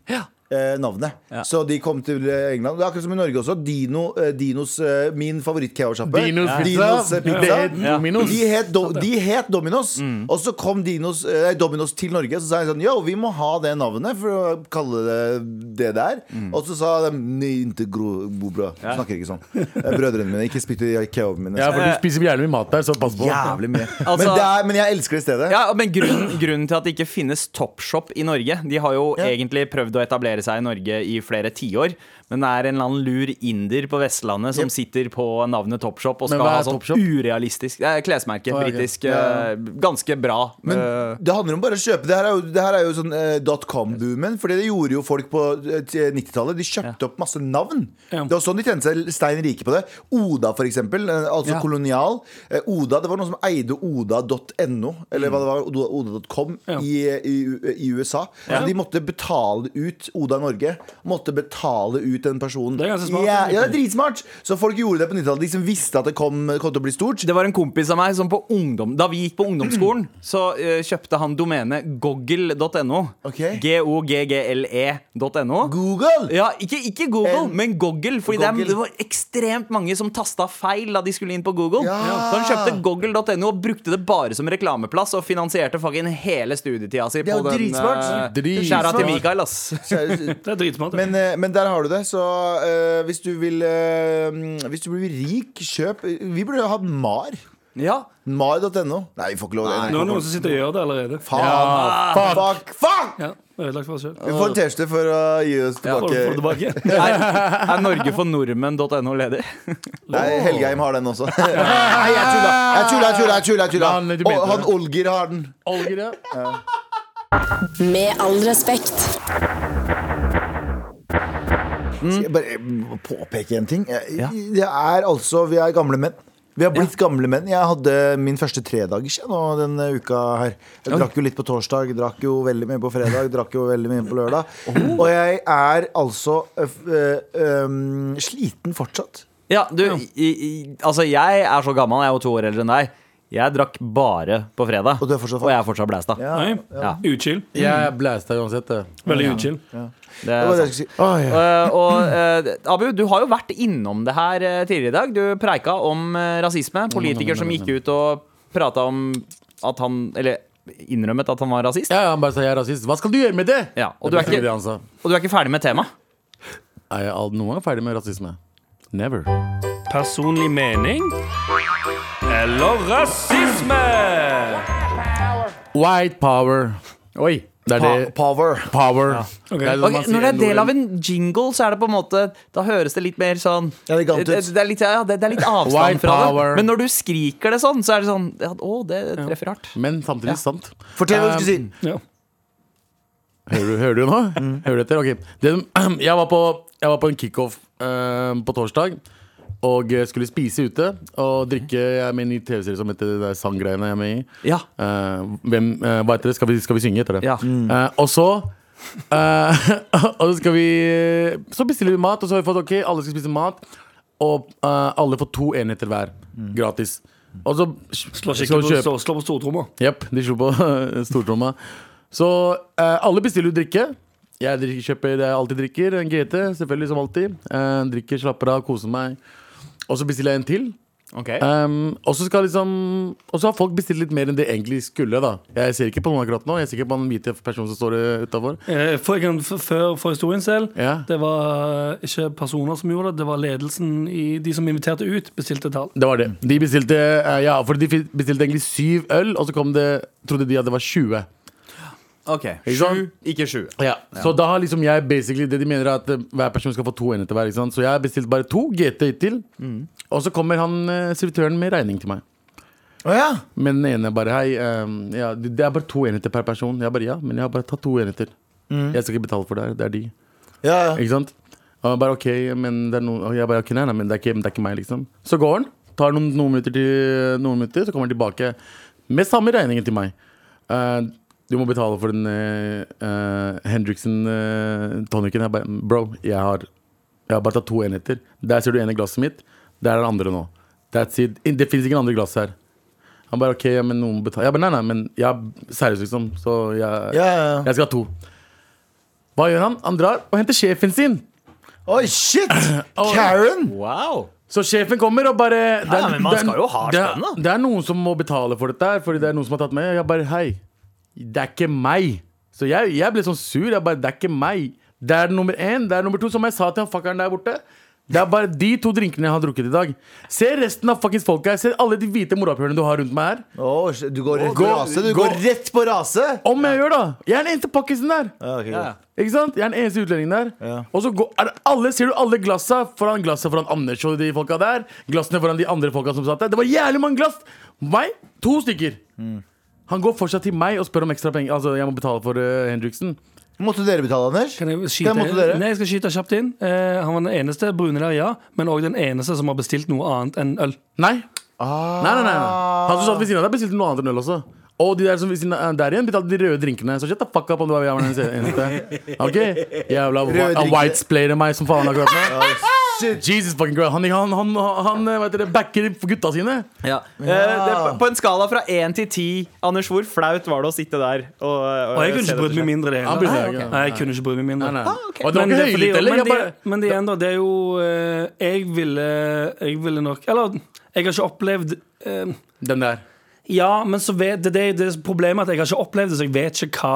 Speaker 5: eh, navnet. Så de kom til eh, England. Det er akkurat som i Norge også. Dino, eh, Dinos, eh, min favoritt-kebabsjappe.
Speaker 6: Dinos pizza.
Speaker 5: Dinos eh, pizza.
Speaker 6: Det er Dominos.
Speaker 5: De het, Do de het Dominos.
Speaker 6: Mm.
Speaker 5: Og så kom Dinos, eh, Dominos til Norge, så sa jeg sånn Yo, vi må ha det navnet for å kalle det det der.
Speaker 6: Mm.
Speaker 5: Og så sa de Nei, ikke gro- bo bra. Snakker ikke sånn. Eh, Brødrene mine. Ikke spytt i kebaben min.
Speaker 6: Ja, for du spiser jævlig mye mat der, så pass på.
Speaker 5: Jævlig mye.
Speaker 4: Altså-
Speaker 5: men, det er, men jeg elsker det stedet.
Speaker 4: Ja, men grunnen, grunnen til at det ikke finnes Topshop i Norge De har jo
Speaker 5: Ja.
Speaker 4: egentlig prøvd å etablere seg i Norge i flere tiår, men det er en eller annen lur inder på Vestlandet som sitter på navnet Topshop og
Speaker 6: Men
Speaker 4: skal
Speaker 6: hva er
Speaker 4: ha sånn
Speaker 6: Topshop?
Speaker 4: urealistisk Det er Klesmerke.
Speaker 6: ok.
Speaker 4: Britisk. eh, Ganske bra.
Speaker 5: Men
Speaker 4: eh,
Speaker 5: det handler om bare å kjøpe. Det her er jo, det her er jo sånn eh, dotcom-boomen. Fordi det gjorde jo folk på eh, 90-tallet. De kjøpte opp masse navn.
Speaker 3: Ja.
Speaker 5: Det var sånn de tjente seg stein rike på det. Oda, for eksempel. eh, Altså
Speaker 3: Ja.
Speaker 5: kolonial. Eh, Oda, Det var noen som eide oda.no, eller hva det var, Oda- oda.com,
Speaker 3: Ja.
Speaker 5: i, i, i USA. Så Altså, de måtte betale ut Oda Norge. Måtte betale ut den personen.
Speaker 3: Det er ganske smart.
Speaker 5: Ja, ja, det er dritsmart! Så folk gjorde det på 90-tallet. De som visste at det kom, kom til å bli stort.
Speaker 4: Det var en kompis av meg som på ungdom Da vi gikk på ungdomsskolen Så eh, kjøpte han domenet goggle.no
Speaker 5: Ok.
Speaker 4: E G-O-G-G-L-E.no
Speaker 5: Google!
Speaker 4: ja, ikke, ikke Google,
Speaker 5: En-
Speaker 4: men Goggle Fordi det er-
Speaker 5: Goggle.
Speaker 4: det var ekstremt mange som tastet feil Da de skulle inn på Google
Speaker 5: Ja.
Speaker 4: Så han kjøpte goggle.no og brukte det bare som reklameplass Og finansierte fucking hele studietida si
Speaker 5: Det er
Speaker 4: på
Speaker 5: jo
Speaker 4: den,
Speaker 5: dritsmart.
Speaker 4: eh,
Speaker 6: Dritsmart.
Speaker 4: Kjære til Mikael ass
Speaker 5: Så-
Speaker 3: Det er dritsmart. det.
Speaker 5: Men, eh, men der har du det. Så eh, hvis du vil eh, mm, Hvis du blir rik, kjøp eh, Vi burde jo hatt Mar.
Speaker 4: Ja,
Speaker 5: Mar.no. Nei, vi får ikke lov.
Speaker 3: Nå
Speaker 5: Nei,
Speaker 3: er det noen som sitter og gjør det allerede.
Speaker 5: faen.
Speaker 6: Ja,
Speaker 5: fuck.
Speaker 6: fuck.
Speaker 5: fuck! Fuck!
Speaker 3: Ja, ødelagt for oss selv.
Speaker 5: Vi får en T-skjorte for å gi oss
Speaker 3: Får du- får du
Speaker 5: tilbake.
Speaker 3: tilbake?
Speaker 4: er, er norgefornordmenn.no ledig?
Speaker 5: Nei, Helgheim har den også. Nei, jeg tulla! Jeg tulla, jeg tulla, jeg tulla, jeg tulla.
Speaker 6: Nei, nei, du mente
Speaker 5: Og han
Speaker 6: det.
Speaker 5: Olgir har den.
Speaker 6: Olger, ja.
Speaker 1: Med all respekt.
Speaker 5: Skal jeg bare eh, påpeke en ting? Jeg, det er altså Vi er gamle menn. Vi har blitt gamle menn. Jeg hadde min første tredagers jeg, nå denne uka her. Jeg drakk jo litt på torsdag, drakk jo veldig mye på fredag, drakk jo veldig mye på lørdag. Og jeg er altså eh, f- eh, um, sliten fortsatt.
Speaker 4: Ja, du, i, i, altså jeg er så gammel, jeg er jo to år eldre enn deg. Jeg drakk bare på fredag,
Speaker 5: Og du er fortsatt
Speaker 4: jeg er fortsatt blæsta.
Speaker 5: Ja.
Speaker 3: Nei.
Speaker 4: Ja.
Speaker 3: Uchill.
Speaker 6: Jeg blæsta uansett, det.
Speaker 3: Veldig uchill.
Speaker 4: Det
Speaker 5: Det
Speaker 4: er
Speaker 5: var det
Speaker 4: sant.
Speaker 5: jeg skulle si. Åh, ja.
Speaker 4: Eh, og eh, Abu, du har jo vært innom det her eh, tidligere i dag. Du preika om eh, rasisme. Politiker som gikk ut og prata om at han Eller innrømmet at han var rasist.
Speaker 6: Ja, ja, han bare sa jeg er rasist. Hva skal du gjøre med det?
Speaker 4: Ja, og du er
Speaker 6: det
Speaker 4: ikke-
Speaker 6: det han sa.
Speaker 4: Og du er ikke ferdig med temaet.
Speaker 6: Er jeg all- noen gang ferdig med rasisme? Never.
Speaker 3: Personlig mening eller rasisme?
Speaker 6: White power. Oi. Det er det.
Speaker 5: Pa Eh, power.
Speaker 6: Power.
Speaker 3: Ok.
Speaker 6: Det er sånn
Speaker 4: Ok,
Speaker 6: man sier
Speaker 4: når det er
Speaker 6: i
Speaker 4: del av
Speaker 6: Norden.
Speaker 4: en jingle, så er det på en måte Da høres det litt mer sånn
Speaker 5: Elegant ut.
Speaker 4: Det, det, er, litt, ja, det, det er litt
Speaker 6: White
Speaker 4: avstand fra det.
Speaker 6: power.
Speaker 4: Men når du skriker det sånn, så er det sånn ja, Å, det treffer hardt.
Speaker 6: Men samtidig sant.
Speaker 5: Fortell hva du skulle si.
Speaker 3: Ja.
Speaker 6: Hører du, hører du nå?
Speaker 4: Mm.
Speaker 6: Hører du etter? Ok. Det, som- jeg, var på, jeg var på en kickoff eh, på torsdag. Og eh, skulle spise ute og drikke. Jeg er med i en ny TV-serie som heter det er Sanggreiene. jeg er med i
Speaker 4: Ja.
Speaker 6: Eh, hvem, eh, Hva heter det? Skal vi, skal vi synge etter det?
Speaker 4: Ja.
Speaker 6: Eh, og så eh, Og så skal vi Så bestiller vi mat, og så har vi fått ok, alle skal spise mat. og eh, alle får to enheter hver. Gratis. Og så
Speaker 3: Slå,
Speaker 6: skal du
Speaker 3: Mm. skikkelig på-
Speaker 6: kjøpe-
Speaker 3: slå, slå på stortromma.
Speaker 6: Jepp, de slo på stortromma. Så eh, alle bestiller jo drikke. Jeg drikker, kjøper det jeg alltid drikker, en GT, selvfølgelig som alltid. Eh, drikker, slapper av, koser meg. Og så bestiller jeg en til.
Speaker 4: Ok
Speaker 6: Um, og så skal liksom Og så har folk bestilt litt mer enn det egentlig skulle. da Jeg ser ikke på noen akkurat nå. Jeg ser ikke på den hvite personen som står utafor.
Speaker 3: Eh, For, jeg kan, f- før for historien selv,
Speaker 6: Ja.
Speaker 3: det var eh, ikke personer som gjorde det, det var ledelsen i de som inviterte ut, bestilte tall.
Speaker 6: Det var det. De bestilte eh, Ja, for de fi- bestilte egentlig syv øl, og så kom det trodde de at det var 20.
Speaker 4: Ok, sju,
Speaker 6: Ikke sant?
Speaker 4: ikke sju.
Speaker 6: Så da har liksom jeg basically det de mener er at eh, hver person skal få to enheter hver. Ikke sant? Så jeg har bestilt bare to GT til. Og så kommer han eh, servitøren med regning til meg.
Speaker 5: Å ja.
Speaker 6: Men den ene bare Hei, ehm, ja, det det er bare to enheter per person. Jeg bare ja, men jeg har bare tatt to enheter. Jeg skal ikke betale for det her. Det er de.
Speaker 5: ja, ja.
Speaker 6: Ikke sant? Og jeg bare ok, men det er noen Og jeg bare ok, nei, nei, men det er ikke, det er ikke meg, liksom. Så går han, tar noen, noen, minutter til, noen minutter, så kommer han tilbake med samme regningen til meg. Eh, du må betale for den uh, Hendrixen-tonikken. eh, jeg bare Bro, jeg har, jeg har bare tatt to enheter. Der ser du ene glasset mitt. Der er det andre nå. That's it. Det fins ingen andre glass her. Han bare OK, ja, men noen må betale. Jeg bare nei, nei, men jeg, seriøst, liksom. Så jeg,
Speaker 5: ja, ja.
Speaker 6: jeg skal ha to. Hva gjør han? Han drar og henter sjefen sin.
Speaker 5: Oi, shit! Karen!
Speaker 4: Wow
Speaker 6: Så sjefen kommer og bare det er-
Speaker 4: Ja, men man
Speaker 6: det er-
Speaker 4: skal jo ha
Speaker 6: det er-
Speaker 4: stønad.
Speaker 6: Det er noen som må betale for dette her, fordi det er noen som har tatt med. Jeg bare hei, det er ikke meg. Så jeg, jeg ble sånn sur. Jeg bare, det er ikke meg. Det er nummer én. Det er nummer to, som jeg sa til han fuckeren der borte. Det er bare de to drinkene jeg har drukket i dag. Se resten av fuckings folka her. Se alle de hvite morapulerne du har rundt meg her.
Speaker 5: Å, shit, du går rett på
Speaker 6: Gå-
Speaker 5: rase? Du
Speaker 6: gå-
Speaker 5: går rett på rase?
Speaker 6: Om jeg gjør, da! Jeg er den eneste pakkisen der.
Speaker 5: Ja, ok,
Speaker 4: ja.
Speaker 5: greit.
Speaker 6: Ikke sant? Jeg er den eneste utlendingen der. Og så går, er det alle, ser du alle glassa foran glasset foran Anders og de folka der. Glassene foran de andre folka som satt der. Det var jævlig mange glass! Meg, to stykker. Han går fortsatt til meg og spør om ekstra penger. Altså, jeg må betale for eh, Hendriksen.
Speaker 5: Måtte dere betale, Anders?
Speaker 3: Kan jeg skyte,
Speaker 5: Skal jeg måtte dere?
Speaker 3: Nei, jeg skal skyte kjapt inn. Eh, han var den eneste brune der, ja. Men òg den eneste som har bestilt noe annet enn øl.
Speaker 6: Nei. nei, nei, nei, nei. Han som satt ved siden av deg, bestilte noe annet enn øl også. Og de der som ved siden av der igjen betalte de røde drinkene. Så shut the fuck up om du var jævla den eneste. Ok? Jævla
Speaker 5: drinkene.
Speaker 6: whitesplayer meg som faen akkurat nå.
Speaker 5: Shit.
Speaker 6: Jesus fucking girl. Han, han, han, han eh, vet dere, backer gutta sine.
Speaker 4: Ja. Eh, det, på- på en skala fra 1 til 10, Anders, hvor flaut var det å sitte der? Og,
Speaker 3: Og jeg kunne
Speaker 4: se
Speaker 3: ikke
Speaker 4: dette
Speaker 3: brydd meg
Speaker 4: skje?
Speaker 3: mindre. Det
Speaker 6: Han brydde seg ikke.
Speaker 3: Nei, jeg kunne ikke brydd meg mindre.
Speaker 6: Nei, nei.
Speaker 4: ok.
Speaker 6: Og det var
Speaker 3: Ah, Men
Speaker 6: ikke
Speaker 3: det- fordi-
Speaker 6: høylytt heller.
Speaker 3: men
Speaker 6: Jeg bare
Speaker 3: det- Men det er enda, det er jo eh, Jeg ville Jeg ville nok Eller, jeg har ikke opplevd eh,
Speaker 6: Den der.
Speaker 3: Ja, men så vet, det, det, det er problemet at jeg har ikke opplevd det, så jeg vet ikke hva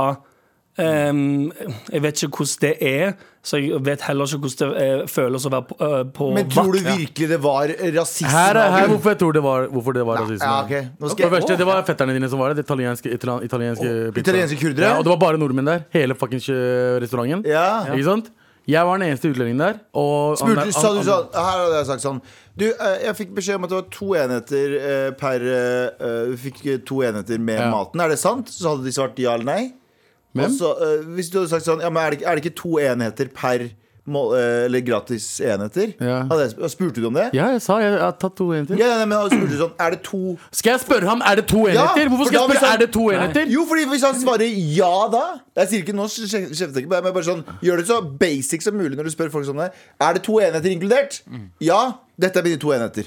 Speaker 3: ehm, Jeg vet ikke hvordan det er, så jeg vet heller ikke hvordan det eh, føles å være på, eh, på
Speaker 5: Men tror du
Speaker 3: vakt.
Speaker 5: virkelig det var rasisme?
Speaker 6: Her er her hvorfor jeg tror det var Hvorfor det var rasisme.
Speaker 5: Ja, ok. Nå
Speaker 6: For det
Speaker 5: skal
Speaker 6: første,
Speaker 5: jeg
Speaker 6: det var fetterne dine som var der. Det italienske, itali- italienske
Speaker 5: Åh,
Speaker 6: pizza.
Speaker 5: italienske kurdere?
Speaker 6: Ja, og det var bare nordmenn der. Hele fuckings eh, restauranten.
Speaker 5: Ja.
Speaker 6: Ikke sant? Jeg var den eneste utlendingen der. Og han-
Speaker 5: Spurte,
Speaker 6: han-
Speaker 5: sa du
Speaker 6: han-
Speaker 5: sånn Her hadde jeg sagt sånn Du, eh, jeg fikk beskjed om at det var to enheter eh, per eh, eh, Du fikk eh, to enheter med
Speaker 6: Ja.
Speaker 5: maten. Er det sant? Så hadde de svart ja eller nei.
Speaker 6: Hvem?
Speaker 5: Og så, eh, hvis du hadde sagt sånn Ja, men er det, ikke- er det ikke to enheter per mål, eh, Eller gratis enheter?
Speaker 6: Ja.
Speaker 5: Hadde jeg, sp- spurte du om det?
Speaker 6: Ja, jeg sa jeg, jeg har tatt to enheter.
Speaker 5: Ja, nei, men han spurte sånn Er det to
Speaker 6: Skal jeg spørre ham er det to
Speaker 5: Ja,
Speaker 6: enheter? Hvorfor
Speaker 5: for da
Speaker 6: skal jeg
Speaker 5: vil
Speaker 6: spørre
Speaker 5: han-
Speaker 6: er det to enheter?
Speaker 5: Jo, fordi hvis han svarer ja da Jeg sier ikke nå, kjefter jeg ikke på deg, men bare sånn Gjør det så basic som mulig når du spør folk sånn der Er det to enheter inkludert? Ja, dette er mine to enheter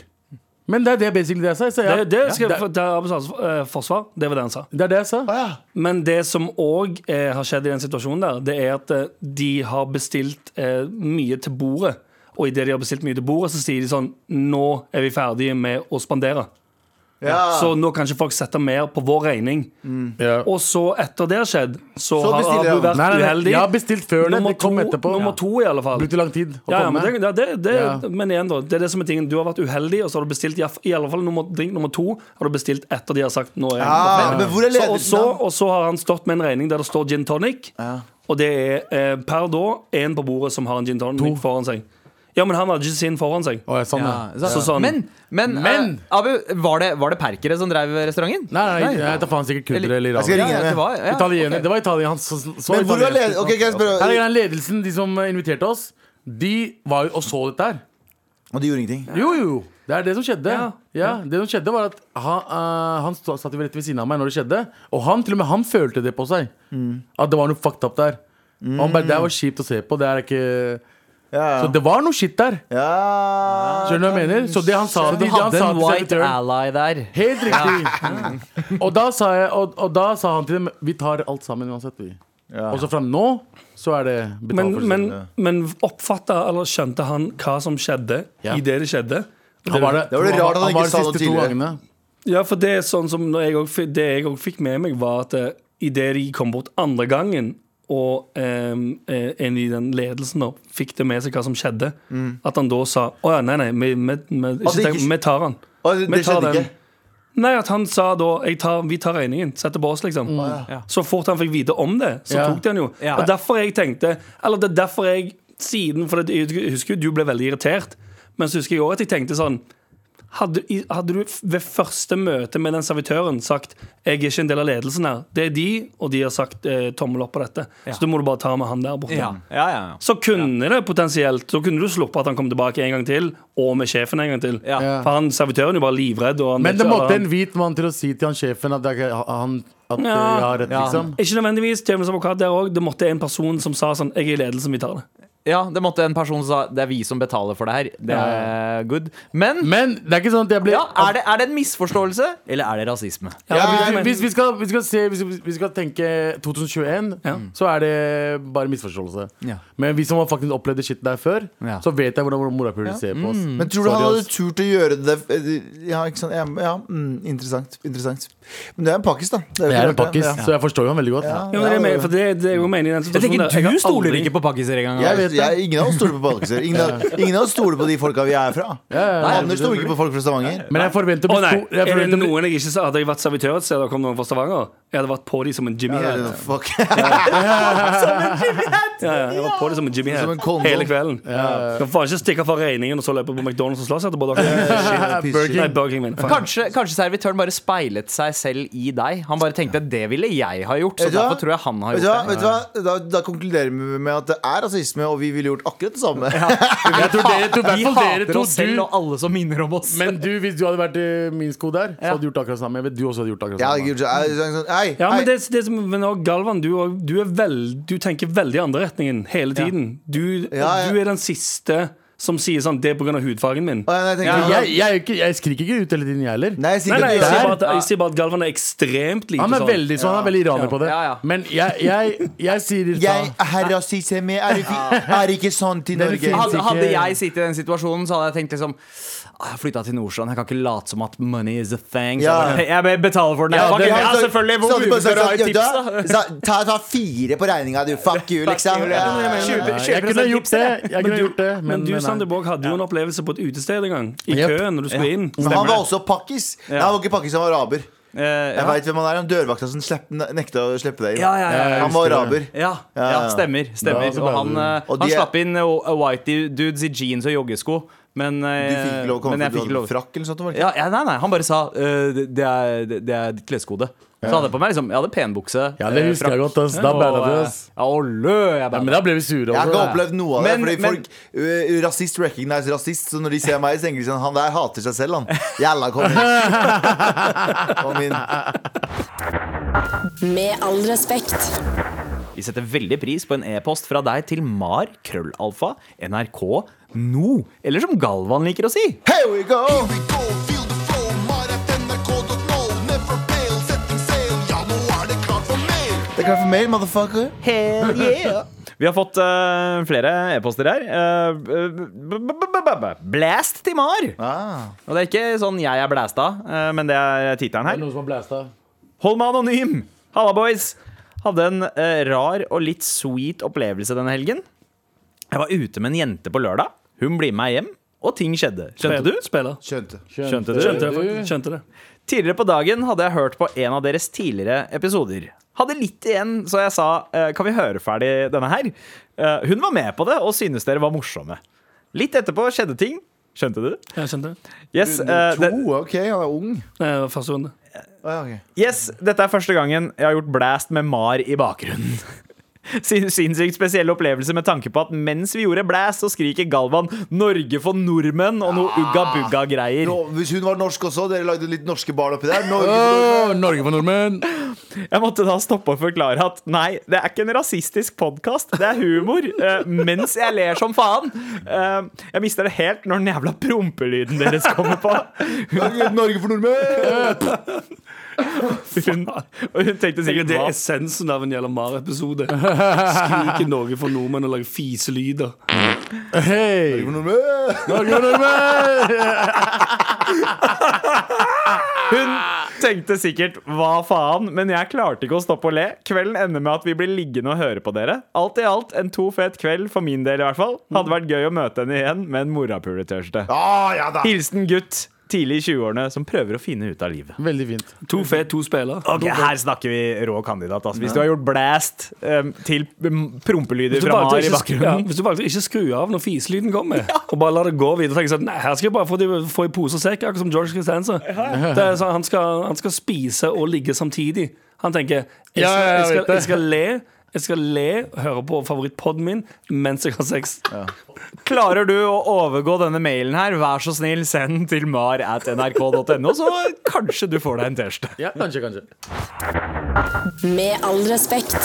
Speaker 6: Men det er det basically det jeg sa. Jeg sa ja.
Speaker 3: Det, det, skal,
Speaker 6: det,
Speaker 3: for- det er Abbas eh, forsvar. Det var det han sa.
Speaker 6: det er det jeg sa.
Speaker 5: ah, ja.
Speaker 3: Men det som òg eh, har skjedd i den situasjonen der, det er at eh, de har bestilt eh, mye til bordet. Og idet de har bestilt mye til bordet, så sier de sånn Nå er vi ferdige med å spandere.
Speaker 5: Ja.
Speaker 3: Så nå kan ikke folk sette mer på vår regning.
Speaker 6: Ja.
Speaker 3: Og så etter det har skjedd,
Speaker 5: Så
Speaker 3: så, har
Speaker 5: bestiller
Speaker 3: Abu
Speaker 5: han.
Speaker 3: vært
Speaker 6: Nei, nei, nei,
Speaker 3: uheldig.
Speaker 6: jeg har bestilt før det,
Speaker 3: Nummer
Speaker 6: det kom
Speaker 3: to-
Speaker 6: etterpå.
Speaker 3: Nummer
Speaker 6: Ja.
Speaker 3: to, i alle fall.
Speaker 6: Brukte lang tid å
Speaker 3: ja, ja,
Speaker 6: komme.
Speaker 3: men, det, ja, det, det,
Speaker 6: Ja.
Speaker 3: men igjen, da. Det er det som er tingen. Du har vært uheldig, og så har du bestilt i i alle fall nummer, drink nummer to har du bestilt etter de har sagt nå er jeg
Speaker 5: Ah, men hvor er
Speaker 3: så, og, så,
Speaker 5: ledelsen da?
Speaker 3: og så har han stått med en regning der det står gin tonic. Og det er eh, per da én på bordet som har en gin tonic foran seg. Ja, men han hadde ikke sin foran seg.
Speaker 6: Å, ja, sånn, ja.
Speaker 4: Ja, så,
Speaker 3: Så sånn-
Speaker 4: Men, men,
Speaker 6: Men-
Speaker 4: eh, Abu, var det, var det perkere som drev restauranten?
Speaker 6: Nei, nei, nei, jeg tar faen sikkert kurdere eller
Speaker 5: Jeg skal
Speaker 6: iranere.
Speaker 5: ringe.
Speaker 4: det var, ja,
Speaker 6: Italiener.
Speaker 4: ok.
Speaker 6: Det var Italia. Han så, så
Speaker 5: Men hvor
Speaker 6: italiener.
Speaker 5: er led... Ok, kan jeg
Speaker 6: Her er
Speaker 5: spørre
Speaker 6: greia, ledelsen, de som eh, inviterte oss, de var jo og så dette her.
Speaker 5: Og de gjorde ingenting
Speaker 6: Jo, jo, jo. Det er det som skjedde.
Speaker 3: Ja.
Speaker 6: Ja. det som skjedde var at han, eh, han stå, satt jo rett ved siden av meg når det skjedde, og han til og med han
Speaker 5: Mm.
Speaker 6: følte det på seg. At det var noe fucked up der. Og han bare, Det var kjipt å se på. Det er ikke
Speaker 5: Ja, ja.
Speaker 6: Så det var noe shit der.
Speaker 5: Ja
Speaker 6: Skjønner du hva jeg mener? Så det han sa
Speaker 4: Du
Speaker 6: det han
Speaker 4: hadde
Speaker 6: sa
Speaker 4: en
Speaker 6: til
Speaker 4: white
Speaker 6: servitøren-
Speaker 4: ally der.
Speaker 6: Helt riktig. Mm. og, da sa jeg, og, og da sa han til dem Vi tar alt sammen uansett, vi. Og så fra nå så er det betalt
Speaker 3: Men,
Speaker 6: for
Speaker 3: men,
Speaker 6: siden.
Speaker 3: men oppfatta eller skjønte han hva som skjedde
Speaker 6: Ja.
Speaker 3: i det det skjedde?
Speaker 6: Han var det,
Speaker 5: Det var det rart han ikke
Speaker 6: var de
Speaker 5: sa det
Speaker 6: siste to
Speaker 5: tidligere.
Speaker 6: gangene.
Speaker 3: Ja, for det er sånn som når jeg også, fi- Det jeg òg fikk med meg, var at idet de kom bort andre gangen, og em, eh, en i den ledelsen da fikk det med seg hva som skjedde,
Speaker 6: Mm.
Speaker 3: at han da sa Å ja, nei, nei, vi, vi, vi, ikke,
Speaker 5: det
Speaker 3: tenk,
Speaker 5: ikke-
Speaker 3: vi tar han.
Speaker 5: Å, det-
Speaker 3: Vi
Speaker 5: det
Speaker 3: tar
Speaker 5: skjedde
Speaker 3: den.
Speaker 5: ikke?
Speaker 3: Nei, at han sa da jeg tar, Vi tar regningen. Setter på oss, liksom. Så fort han fikk vite om det, så
Speaker 6: Ja.
Speaker 3: tok de han jo.
Speaker 4: Ja.
Speaker 3: Og derfor jeg tenkte Eller det er derfor jeg siden For det, jeg husker jo du ble veldig irritert, men så husker jeg òg at jeg tenkte sånn hadde, i- hadde du f- ved første møte med den servitøren sagt 'Jeg er ikke en del av ledelsen her', det er de, og de har sagt eh, tommel opp på dette, så da må du bare ta med han der borte.
Speaker 4: Ja, ja, ja. ja.
Speaker 3: Så kunne det potensielt Så kunne du sluppet at han kom tilbake en gang til, og med sjefen en gang til.
Speaker 4: Ja.
Speaker 6: Ja.
Speaker 3: For han servitøren er jo bare livredd. Og han
Speaker 6: Men
Speaker 3: vet
Speaker 6: det
Speaker 3: ikke-
Speaker 6: måtte
Speaker 3: eller
Speaker 6: en hvit mann til å si til han sjefen at, det er ikke- han, at eh,
Speaker 3: Ja.
Speaker 6: jeg har rett,
Speaker 4: Ja.
Speaker 6: liksom.
Speaker 3: Ikke nødvendigvis. Djevelens advokat der også. Det måtte en person som sa sånn Jeg er i ledelsen, vi tar det.
Speaker 4: ja, det måtte en person som sa det er vi som betaler for det her. Det er good. Men
Speaker 6: Men det er ikke sånn at jeg ble
Speaker 4: ja, er, det, er det en misforståelse, eller er det rasisme?
Speaker 3: Ja,
Speaker 6: Ja,
Speaker 3: men-
Speaker 6: hvis, vi skal, vi skal se, hvis vi- vi skal tenke 2021,
Speaker 3: Ja.
Speaker 6: så er det bare misforståelse.
Speaker 4: Ja.
Speaker 6: Men vi som har faktisk opplevd det shit der før,
Speaker 4: Ja.
Speaker 6: så vet jeg hvordan morapuler ser på oss.
Speaker 5: Men tror du
Speaker 6: Sorry,
Speaker 5: han hadde
Speaker 6: ass.
Speaker 5: turt å gjøre det eh, Ja, ikke sant? Ja, ja mm, interessant, interessant. Men det er en pakkis, da. Det
Speaker 6: Jeg
Speaker 5: jo
Speaker 6: er en
Speaker 5: ikke rart,
Speaker 6: pakkis,
Speaker 5: ja.
Speaker 6: så jeg forstår jo han veldig godt.
Speaker 3: Ja, men det, er med, for det, det er jo meningen i den situasjonen. der. har aldri-
Speaker 4: på pakkiser engang.
Speaker 5: Jeg vet
Speaker 6: vet det.
Speaker 5: jeg, ingen av oss stoler på pakkiser. Ingen, av- ingen av oss stoler på de folka vi er fra.
Speaker 6: Ja, ja, ja.
Speaker 5: Anders stoler ikke på folk fra Stavanger.
Speaker 6: Men jeg forventer å
Speaker 3: Å
Speaker 6: bli
Speaker 3: nei,
Speaker 6: stor- jeg
Speaker 3: er det
Speaker 6: forventer å bli-
Speaker 3: noen jeg ikke sa Hadde jeg vært servitør et sted og kom noen fra Stavanger, jeg hadde vært på dem som en Jimmy
Speaker 5: Ja,
Speaker 3: Head.
Speaker 5: det er- fuck.
Speaker 3: Ja, ja, jeg var på dem som en Jimmy
Speaker 5: Som en
Speaker 3: Head
Speaker 5: kondom.
Speaker 3: hele kvelden. Kan faen ikke stikke fra regningen og så løpe på McDonald's og slåss etterpå. dere.
Speaker 5: Ja,
Speaker 6: Burger
Speaker 5: piss.
Speaker 3: Nei, Burger King min. faen.
Speaker 4: Kanskje, kanskje servitøren bare speilet seg selv i deg. Han bare tenkte det ville jeg ha gjort, så
Speaker 5: Vet du hva?
Speaker 4: derfor tror jeg han har
Speaker 5: Vet du hva?
Speaker 4: gjort det.
Speaker 5: Vet du hva? Da, da konkluderer vi med at det er rasisme, og vi ville gjort akkurat det samme.
Speaker 6: Jeg tror dere to, i hvert
Speaker 4: Vi
Speaker 6: fall dere
Speaker 4: hater
Speaker 6: to
Speaker 4: oss selv
Speaker 6: du,
Speaker 4: og alle som minner om oss.
Speaker 6: Men du, hvis du hadde vært i min sko der, så
Speaker 4: Ja.
Speaker 6: hadde du gjort akkurat det samme. Jeg vet du også hadde gjort akkurat
Speaker 5: Jeg hadde
Speaker 6: det
Speaker 5: ikke gjort det. Jeg hadde sagt sånn, Hei,
Speaker 3: Ja, men
Speaker 5: hei.
Speaker 3: det, det som, men også, Galvan, du, og- du, er veld, du tenker veldig i andre retningen hele tiden. Du,
Speaker 5: Ja, ja.
Speaker 3: du er den siste som sier sånn Det er pga. hudfargen min.
Speaker 5: Å, ja, nei, jeg
Speaker 6: samme.
Speaker 5: tenker-
Speaker 6: Jeg, jeg, er ikke- jeg skriker ikke ut hele tiden, jeg heller.
Speaker 5: Nei, jeg sier
Speaker 3: Nei,
Speaker 5: ikke at
Speaker 3: nei, jeg
Speaker 5: du
Speaker 3: sier
Speaker 5: er
Speaker 3: bare at, jeg sier bare at Galvan er ekstremt lite
Speaker 6: Han er
Speaker 3: sånn.
Speaker 6: veldig sånn, han er veldig iraner på det.
Speaker 4: Ja, ja.
Speaker 6: Men jeg, jeg, jeg sier sånn- ifra.
Speaker 5: Jeg er rasist, jeg er med. Er, det fi- er ikke sant i
Speaker 6: Det er det
Speaker 5: Norge?
Speaker 6: fint.
Speaker 4: Hadde,
Speaker 6: ikke-
Speaker 4: hadde jeg sittet i den situasjonen, så hadde jeg tenkt liksom «Ah, Jeg flytta til Nordstrand, jeg kan ikke late som at money is a thing. Så
Speaker 5: Ja.
Speaker 4: jeg bare, jeg betaler for den. her.
Speaker 5: Ja,
Speaker 4: Fuck
Speaker 5: det-
Speaker 4: it,
Speaker 5: han
Speaker 4: ja,
Speaker 5: sa-
Speaker 4: selvfølgelig.
Speaker 5: sa
Speaker 4: Hvor mye
Speaker 5: du bare
Speaker 4: bør du ha i
Speaker 5: sånn,
Speaker 4: tips, da?
Speaker 5: ja, da- sa- Ta, ta fire på regninga, du. Fuck you, liksom.
Speaker 4: you, ja.
Speaker 5: Ja, ja, ja.
Speaker 4: Tjue-
Speaker 6: Ja, jeg
Speaker 4: 20%
Speaker 6: kunne gjort
Speaker 4: tips,
Speaker 6: det.
Speaker 4: eller?
Speaker 6: Jeg kunne gjort det
Speaker 3: Men,
Speaker 6: men,
Speaker 3: du
Speaker 6: nei.
Speaker 3: Sander Borg, hadde jo en opplevelse på et utested en gang. I
Speaker 6: Jep.
Speaker 3: køen når du skulle inn.
Speaker 5: Men han var også pakkis. Nei, han var ikke pakkis, han var araber.
Speaker 4: Eh,
Speaker 5: Jeg
Speaker 4: ja.
Speaker 5: vet hvem han er. Han dørvakta som slepp, nekta å slippe deg inn.
Speaker 4: Ja, ja, ja, ja.
Speaker 5: Han var araber.
Speaker 4: Ja, ja,
Speaker 5: Ja, ja.
Speaker 4: stemmer. stemmer.
Speaker 6: Ja, så
Speaker 4: og
Speaker 6: bra.
Speaker 4: han, eh,
Speaker 5: Og
Speaker 4: han
Speaker 5: de er-
Speaker 4: slapp inn eh, whitey dudes i jeans og joggesko, men eh,
Speaker 5: Du fikk ikke lov å komme fordi du hadde frakk eller sånt. var det
Speaker 4: Ja,
Speaker 5: ikke?
Speaker 4: ja, nei, nei, han bare sa eh, det, det er, det- det er klesskode. Så hadde jeg på meg liksom, jeg hadde penbukse.
Speaker 6: Ja, det
Speaker 4: eh,
Speaker 6: husker jeg
Speaker 4: frakk,
Speaker 6: godt. Ass. Da
Speaker 4: og,
Speaker 6: banna du
Speaker 4: eh,
Speaker 6: oss.
Speaker 4: Ja, og lø, jeg
Speaker 6: Ja, men
Speaker 4: banna.
Speaker 6: da ble vi sure.
Speaker 5: Jeg har ikke
Speaker 6: Også, da.
Speaker 5: opplevd noe av
Speaker 4: Men-
Speaker 5: det. Fordi
Speaker 4: men-
Speaker 5: folk, øh, Rasist recognize rasist, så når de ser meg, så tenker de sånn Han der hater seg selv, han. Jævla kom inn. Kom inn.
Speaker 7: Med all respekt.
Speaker 4: Vi setter veldig pris på en e-post fra deg til mar krøllalfa nrk no. Eller som Galvan liker å si.
Speaker 5: Here we go! Det er klart for mail, motherfucker.
Speaker 4: Hell yeah! Vi har fått eh, flere e-poster her. Eh, b- b- b- b- b- blast til Mar!
Speaker 5: Ah.
Speaker 4: Og det er ikke sånn jeg er blæsta, eh, men det er tittelen her.
Speaker 6: Noen som har blæsta.
Speaker 4: Hold meg anonym! Halla, boys! Hadde en eh, rar og litt sweet opplevelse denne helgen. Jeg var ute med en jente på lørdag. Hun blir med meg hjem, og ting skjedde. Skjønte du?
Speaker 3: Spiller.
Speaker 5: Skjønte.
Speaker 4: Skjønte du?
Speaker 3: Skjønte det. faktisk. Skjønte det.
Speaker 4: Tidligere på dagen hadde jeg hørt på en av deres tidligere episoder. Hadde litt igjen, så jeg sa eh, kan vi høre ferdig denne her? Eh, Hun var med på det og syntes dere var morsomme. Litt etterpå skjedde ting. Skjønte du?
Speaker 3: Ja, skjønte det.
Speaker 4: Yes, eh, det,
Speaker 5: To, ok, han er ung.
Speaker 3: Nei, det var første runde.
Speaker 5: Ah, ja, ok.
Speaker 4: yes, dette er første gangen jeg har gjort blast med Mar i bakgrunnen. sin, sinnssykt spesiell opplevelse med tanke på at mens vi gjorde Blast, så skriker Galvan 'Norge for nordmenn' og noe ugga-bugga-greier.
Speaker 5: Nå, hvis hun var norsk også, dere lagde litt norske barn oppi der. Norge,
Speaker 6: Åh, Norge for nordmenn!
Speaker 4: Jeg måtte da stoppe og forklare at nei, det er ikke en rasistisk podkast. Det er humor. eh, mens jeg ler som faen. Eh, jeg mister det helt når den jævla prompelyden deres kommer på.
Speaker 5: Norge, Norge for nordmenn!
Speaker 4: Hun, og hun tenkte
Speaker 3: Sikkert
Speaker 4: sikkert
Speaker 3: det er
Speaker 4: hva?
Speaker 3: essensen av en Jella Mar-episode. Skrike Norge for nordmenn og lage fiselyder.
Speaker 5: Norge
Speaker 6: Hei!
Speaker 5: for nordmenn!
Speaker 6: Norge for nordmenn!
Speaker 4: Hun tenkte sikkert hva faen, men jeg klarte ikke å stoppe å le. Kvelden ender med at vi blir liggende og høre på dere. Alt i alt en to fet kveld for min del i hvert fall. Hadde vært gøy å møte henne igjen med en morapuletørste.
Speaker 5: Ah, ja da.
Speaker 4: Hilsen gutt tidlig i 20-årene som prøver å finne ut av livet.
Speaker 6: Veldig fint.
Speaker 3: To fet, to spillere.
Speaker 4: Ok, Her snakker vi rå kandidat. Altså. Hvis du har gjort blast um, til um, prompelyder
Speaker 3: Hvis du
Speaker 4: fra
Speaker 3: valgte å
Speaker 4: Mar i
Speaker 3: ikke skru- ja,
Speaker 4: bakgrunnen
Speaker 3: hvis du valgte å ikke skru av når fiselyden kommer, og bare la det gå videre tenker sånn, Nei, her skal jeg bare få, de, få i pose og sekk, akkurat som George Costanza. Det er sånn, han, skal, han skal spise og ligge samtidig. Han tenker Jeg skal,
Speaker 6: Ja, ja, jeg
Speaker 3: jeg skal,
Speaker 6: vet det.
Speaker 3: jeg skal le. Jeg skal le og høre på favorittpodden min mens jeg har sex.
Speaker 4: Klarer du å overgå denne mailen her, vær så snill, send den til mar at nrk.no, så kanskje du får deg en T-skjorte.
Speaker 6: Ja, kanskje, kanskje.
Speaker 1: Med all respekt.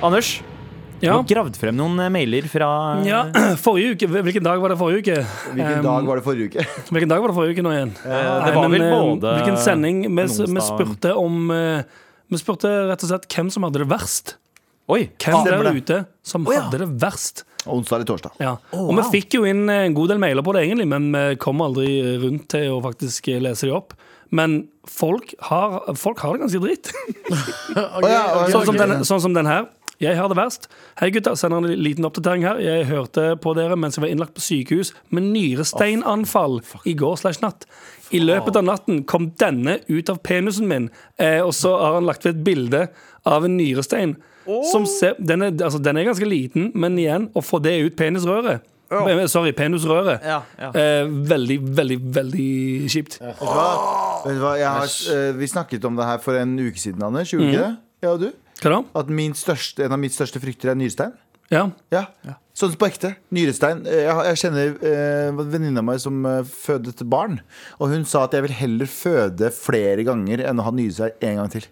Speaker 4: Anders, du
Speaker 3: Ja.
Speaker 4: har gravd frem noen eh, mailer fra
Speaker 3: ja. Forrige uke Hvilken dag var det forrige uke?
Speaker 5: Hvilken dag var det forrige uke?
Speaker 3: Hvilken dag var det forrige uke nå igjen?
Speaker 4: det
Speaker 3: Nei,
Speaker 4: var
Speaker 3: men,
Speaker 4: vel
Speaker 3: eh,
Speaker 4: både
Speaker 3: Hvilken sending? Vi,
Speaker 4: onsdag.
Speaker 3: vi spurte om eh, Vi spurte rett og slett hvem som hadde det verst.
Speaker 4: Oi, Ah,
Speaker 3: Hvem
Speaker 4: stemmer
Speaker 3: der
Speaker 4: det?
Speaker 3: ute som hadde det verst.
Speaker 5: Onsdag eller torsdag.
Speaker 3: Ja. og vi
Speaker 4: wow.
Speaker 3: fikk jo inn eh, en god del mailer på det, egentlig, men vi kom aldri rundt til å faktisk eh, lese de opp. Men folk har, folk har det ganske dritt.
Speaker 5: Å ja, å ja,
Speaker 3: Sånn som,
Speaker 5: ok.
Speaker 3: den, sånn som den her. Jeg har det verst. Hei, gutter. Sender en liten oppdatering her. Jeg hørte på dere mens jeg var innlagt på sykehus med nyresteinanfall i går slash natt. I løpet av natten kom denne ut av penisen min, eh, og så har han lagt ved et bilde av en nyrestein. Som ser, den, er, altså, den er ganske liten, men igjen, å få det ut penisrøret Eh, Sorry, penusrøret.
Speaker 4: Ja, ja.
Speaker 3: Eh, veldig, veldig, veldig kjipt.
Speaker 5: Vet du hva? Vet du hva? Jeg har, eh, vi snakket om det her for en uke siden, Anders. Gjorde vi ikke det? Ja, og du?
Speaker 3: Hva da?
Speaker 5: At min største, en av mine største frykter er nyrestein.
Speaker 3: Ja.
Speaker 5: Ja, Sånn på ekte. Nyrestein. Eh, Jeg, jeg kjenner eh, venninna mi som eh, fødet barn. Og hun sa at jeg vil heller føde flere ganger enn å ha nyrestein en gang til.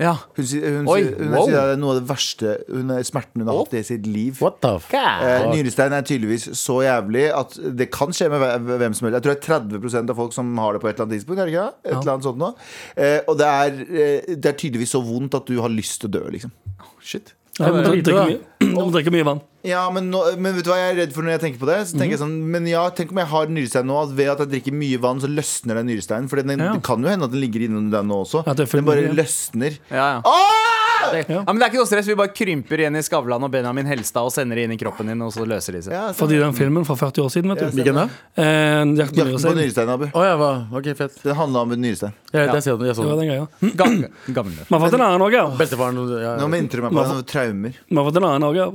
Speaker 4: Ja.
Speaker 5: Hun, sier- hun,
Speaker 4: Oi,
Speaker 5: sier- hun
Speaker 4: wow.
Speaker 5: sier det er noe av det verste hun, smerten hun har hatt i sitt liv.
Speaker 6: What the f...
Speaker 5: Eh, nyrestein er tydeligvis så jævlig at det kan skje med hve- hvem som helst. Jeg tror det er 30 av folk som har det på et eller annet tidspunkt. Er det ikke det? Et eller annet sånt nå. Eh, og det er, eh, det er tydeligvis så vondt at du har lyst til å dø, liksom. Shit.
Speaker 3: Du må
Speaker 6: det er
Speaker 3: drikke
Speaker 6: det.
Speaker 3: mye, du må drikke mye vann.
Speaker 5: Ja, men, nå, men vet du hva jeg er redd for når jeg tenker på det? Så tenker jeg sånn, Men ja, tenk om jeg har nyrestein nå, at ved at jeg drikker mye vann, så løsner den nyresteinen. For den,
Speaker 3: Ja.
Speaker 5: det kan jo hende at den ligger innunder deg nå også.
Speaker 3: Ja, det er fullt
Speaker 5: den bare
Speaker 3: mulig, ja.
Speaker 5: løsner.
Speaker 4: Ja, ja.
Speaker 5: Ah!
Speaker 4: Det, ja, men det er ikke noe stress. Vi bare krymper Jenny Skavlan og Benjamin Helstad og sender det inn i kroppen din, og så løser de seg.
Speaker 5: Ja, så-
Speaker 3: Fordi den filmen fra 40 år siden, vet du.
Speaker 6: Hvilken da?
Speaker 3: Eh, Jakten på
Speaker 5: Jakten på
Speaker 3: nyrestein.
Speaker 5: nyrestein, Abu.
Speaker 6: Å ja, hva? Ok, fett.
Speaker 5: Det handla om en nyrestein.
Speaker 6: Jeg, vet, jeg, ser den, jeg så
Speaker 3: Det var den
Speaker 6: den.
Speaker 3: greia.
Speaker 4: Gam- Gammel.
Speaker 3: Vi har fått en annen òg,
Speaker 6: Bestefaren ja.
Speaker 5: Nå minte du meg på det. det var Traumer.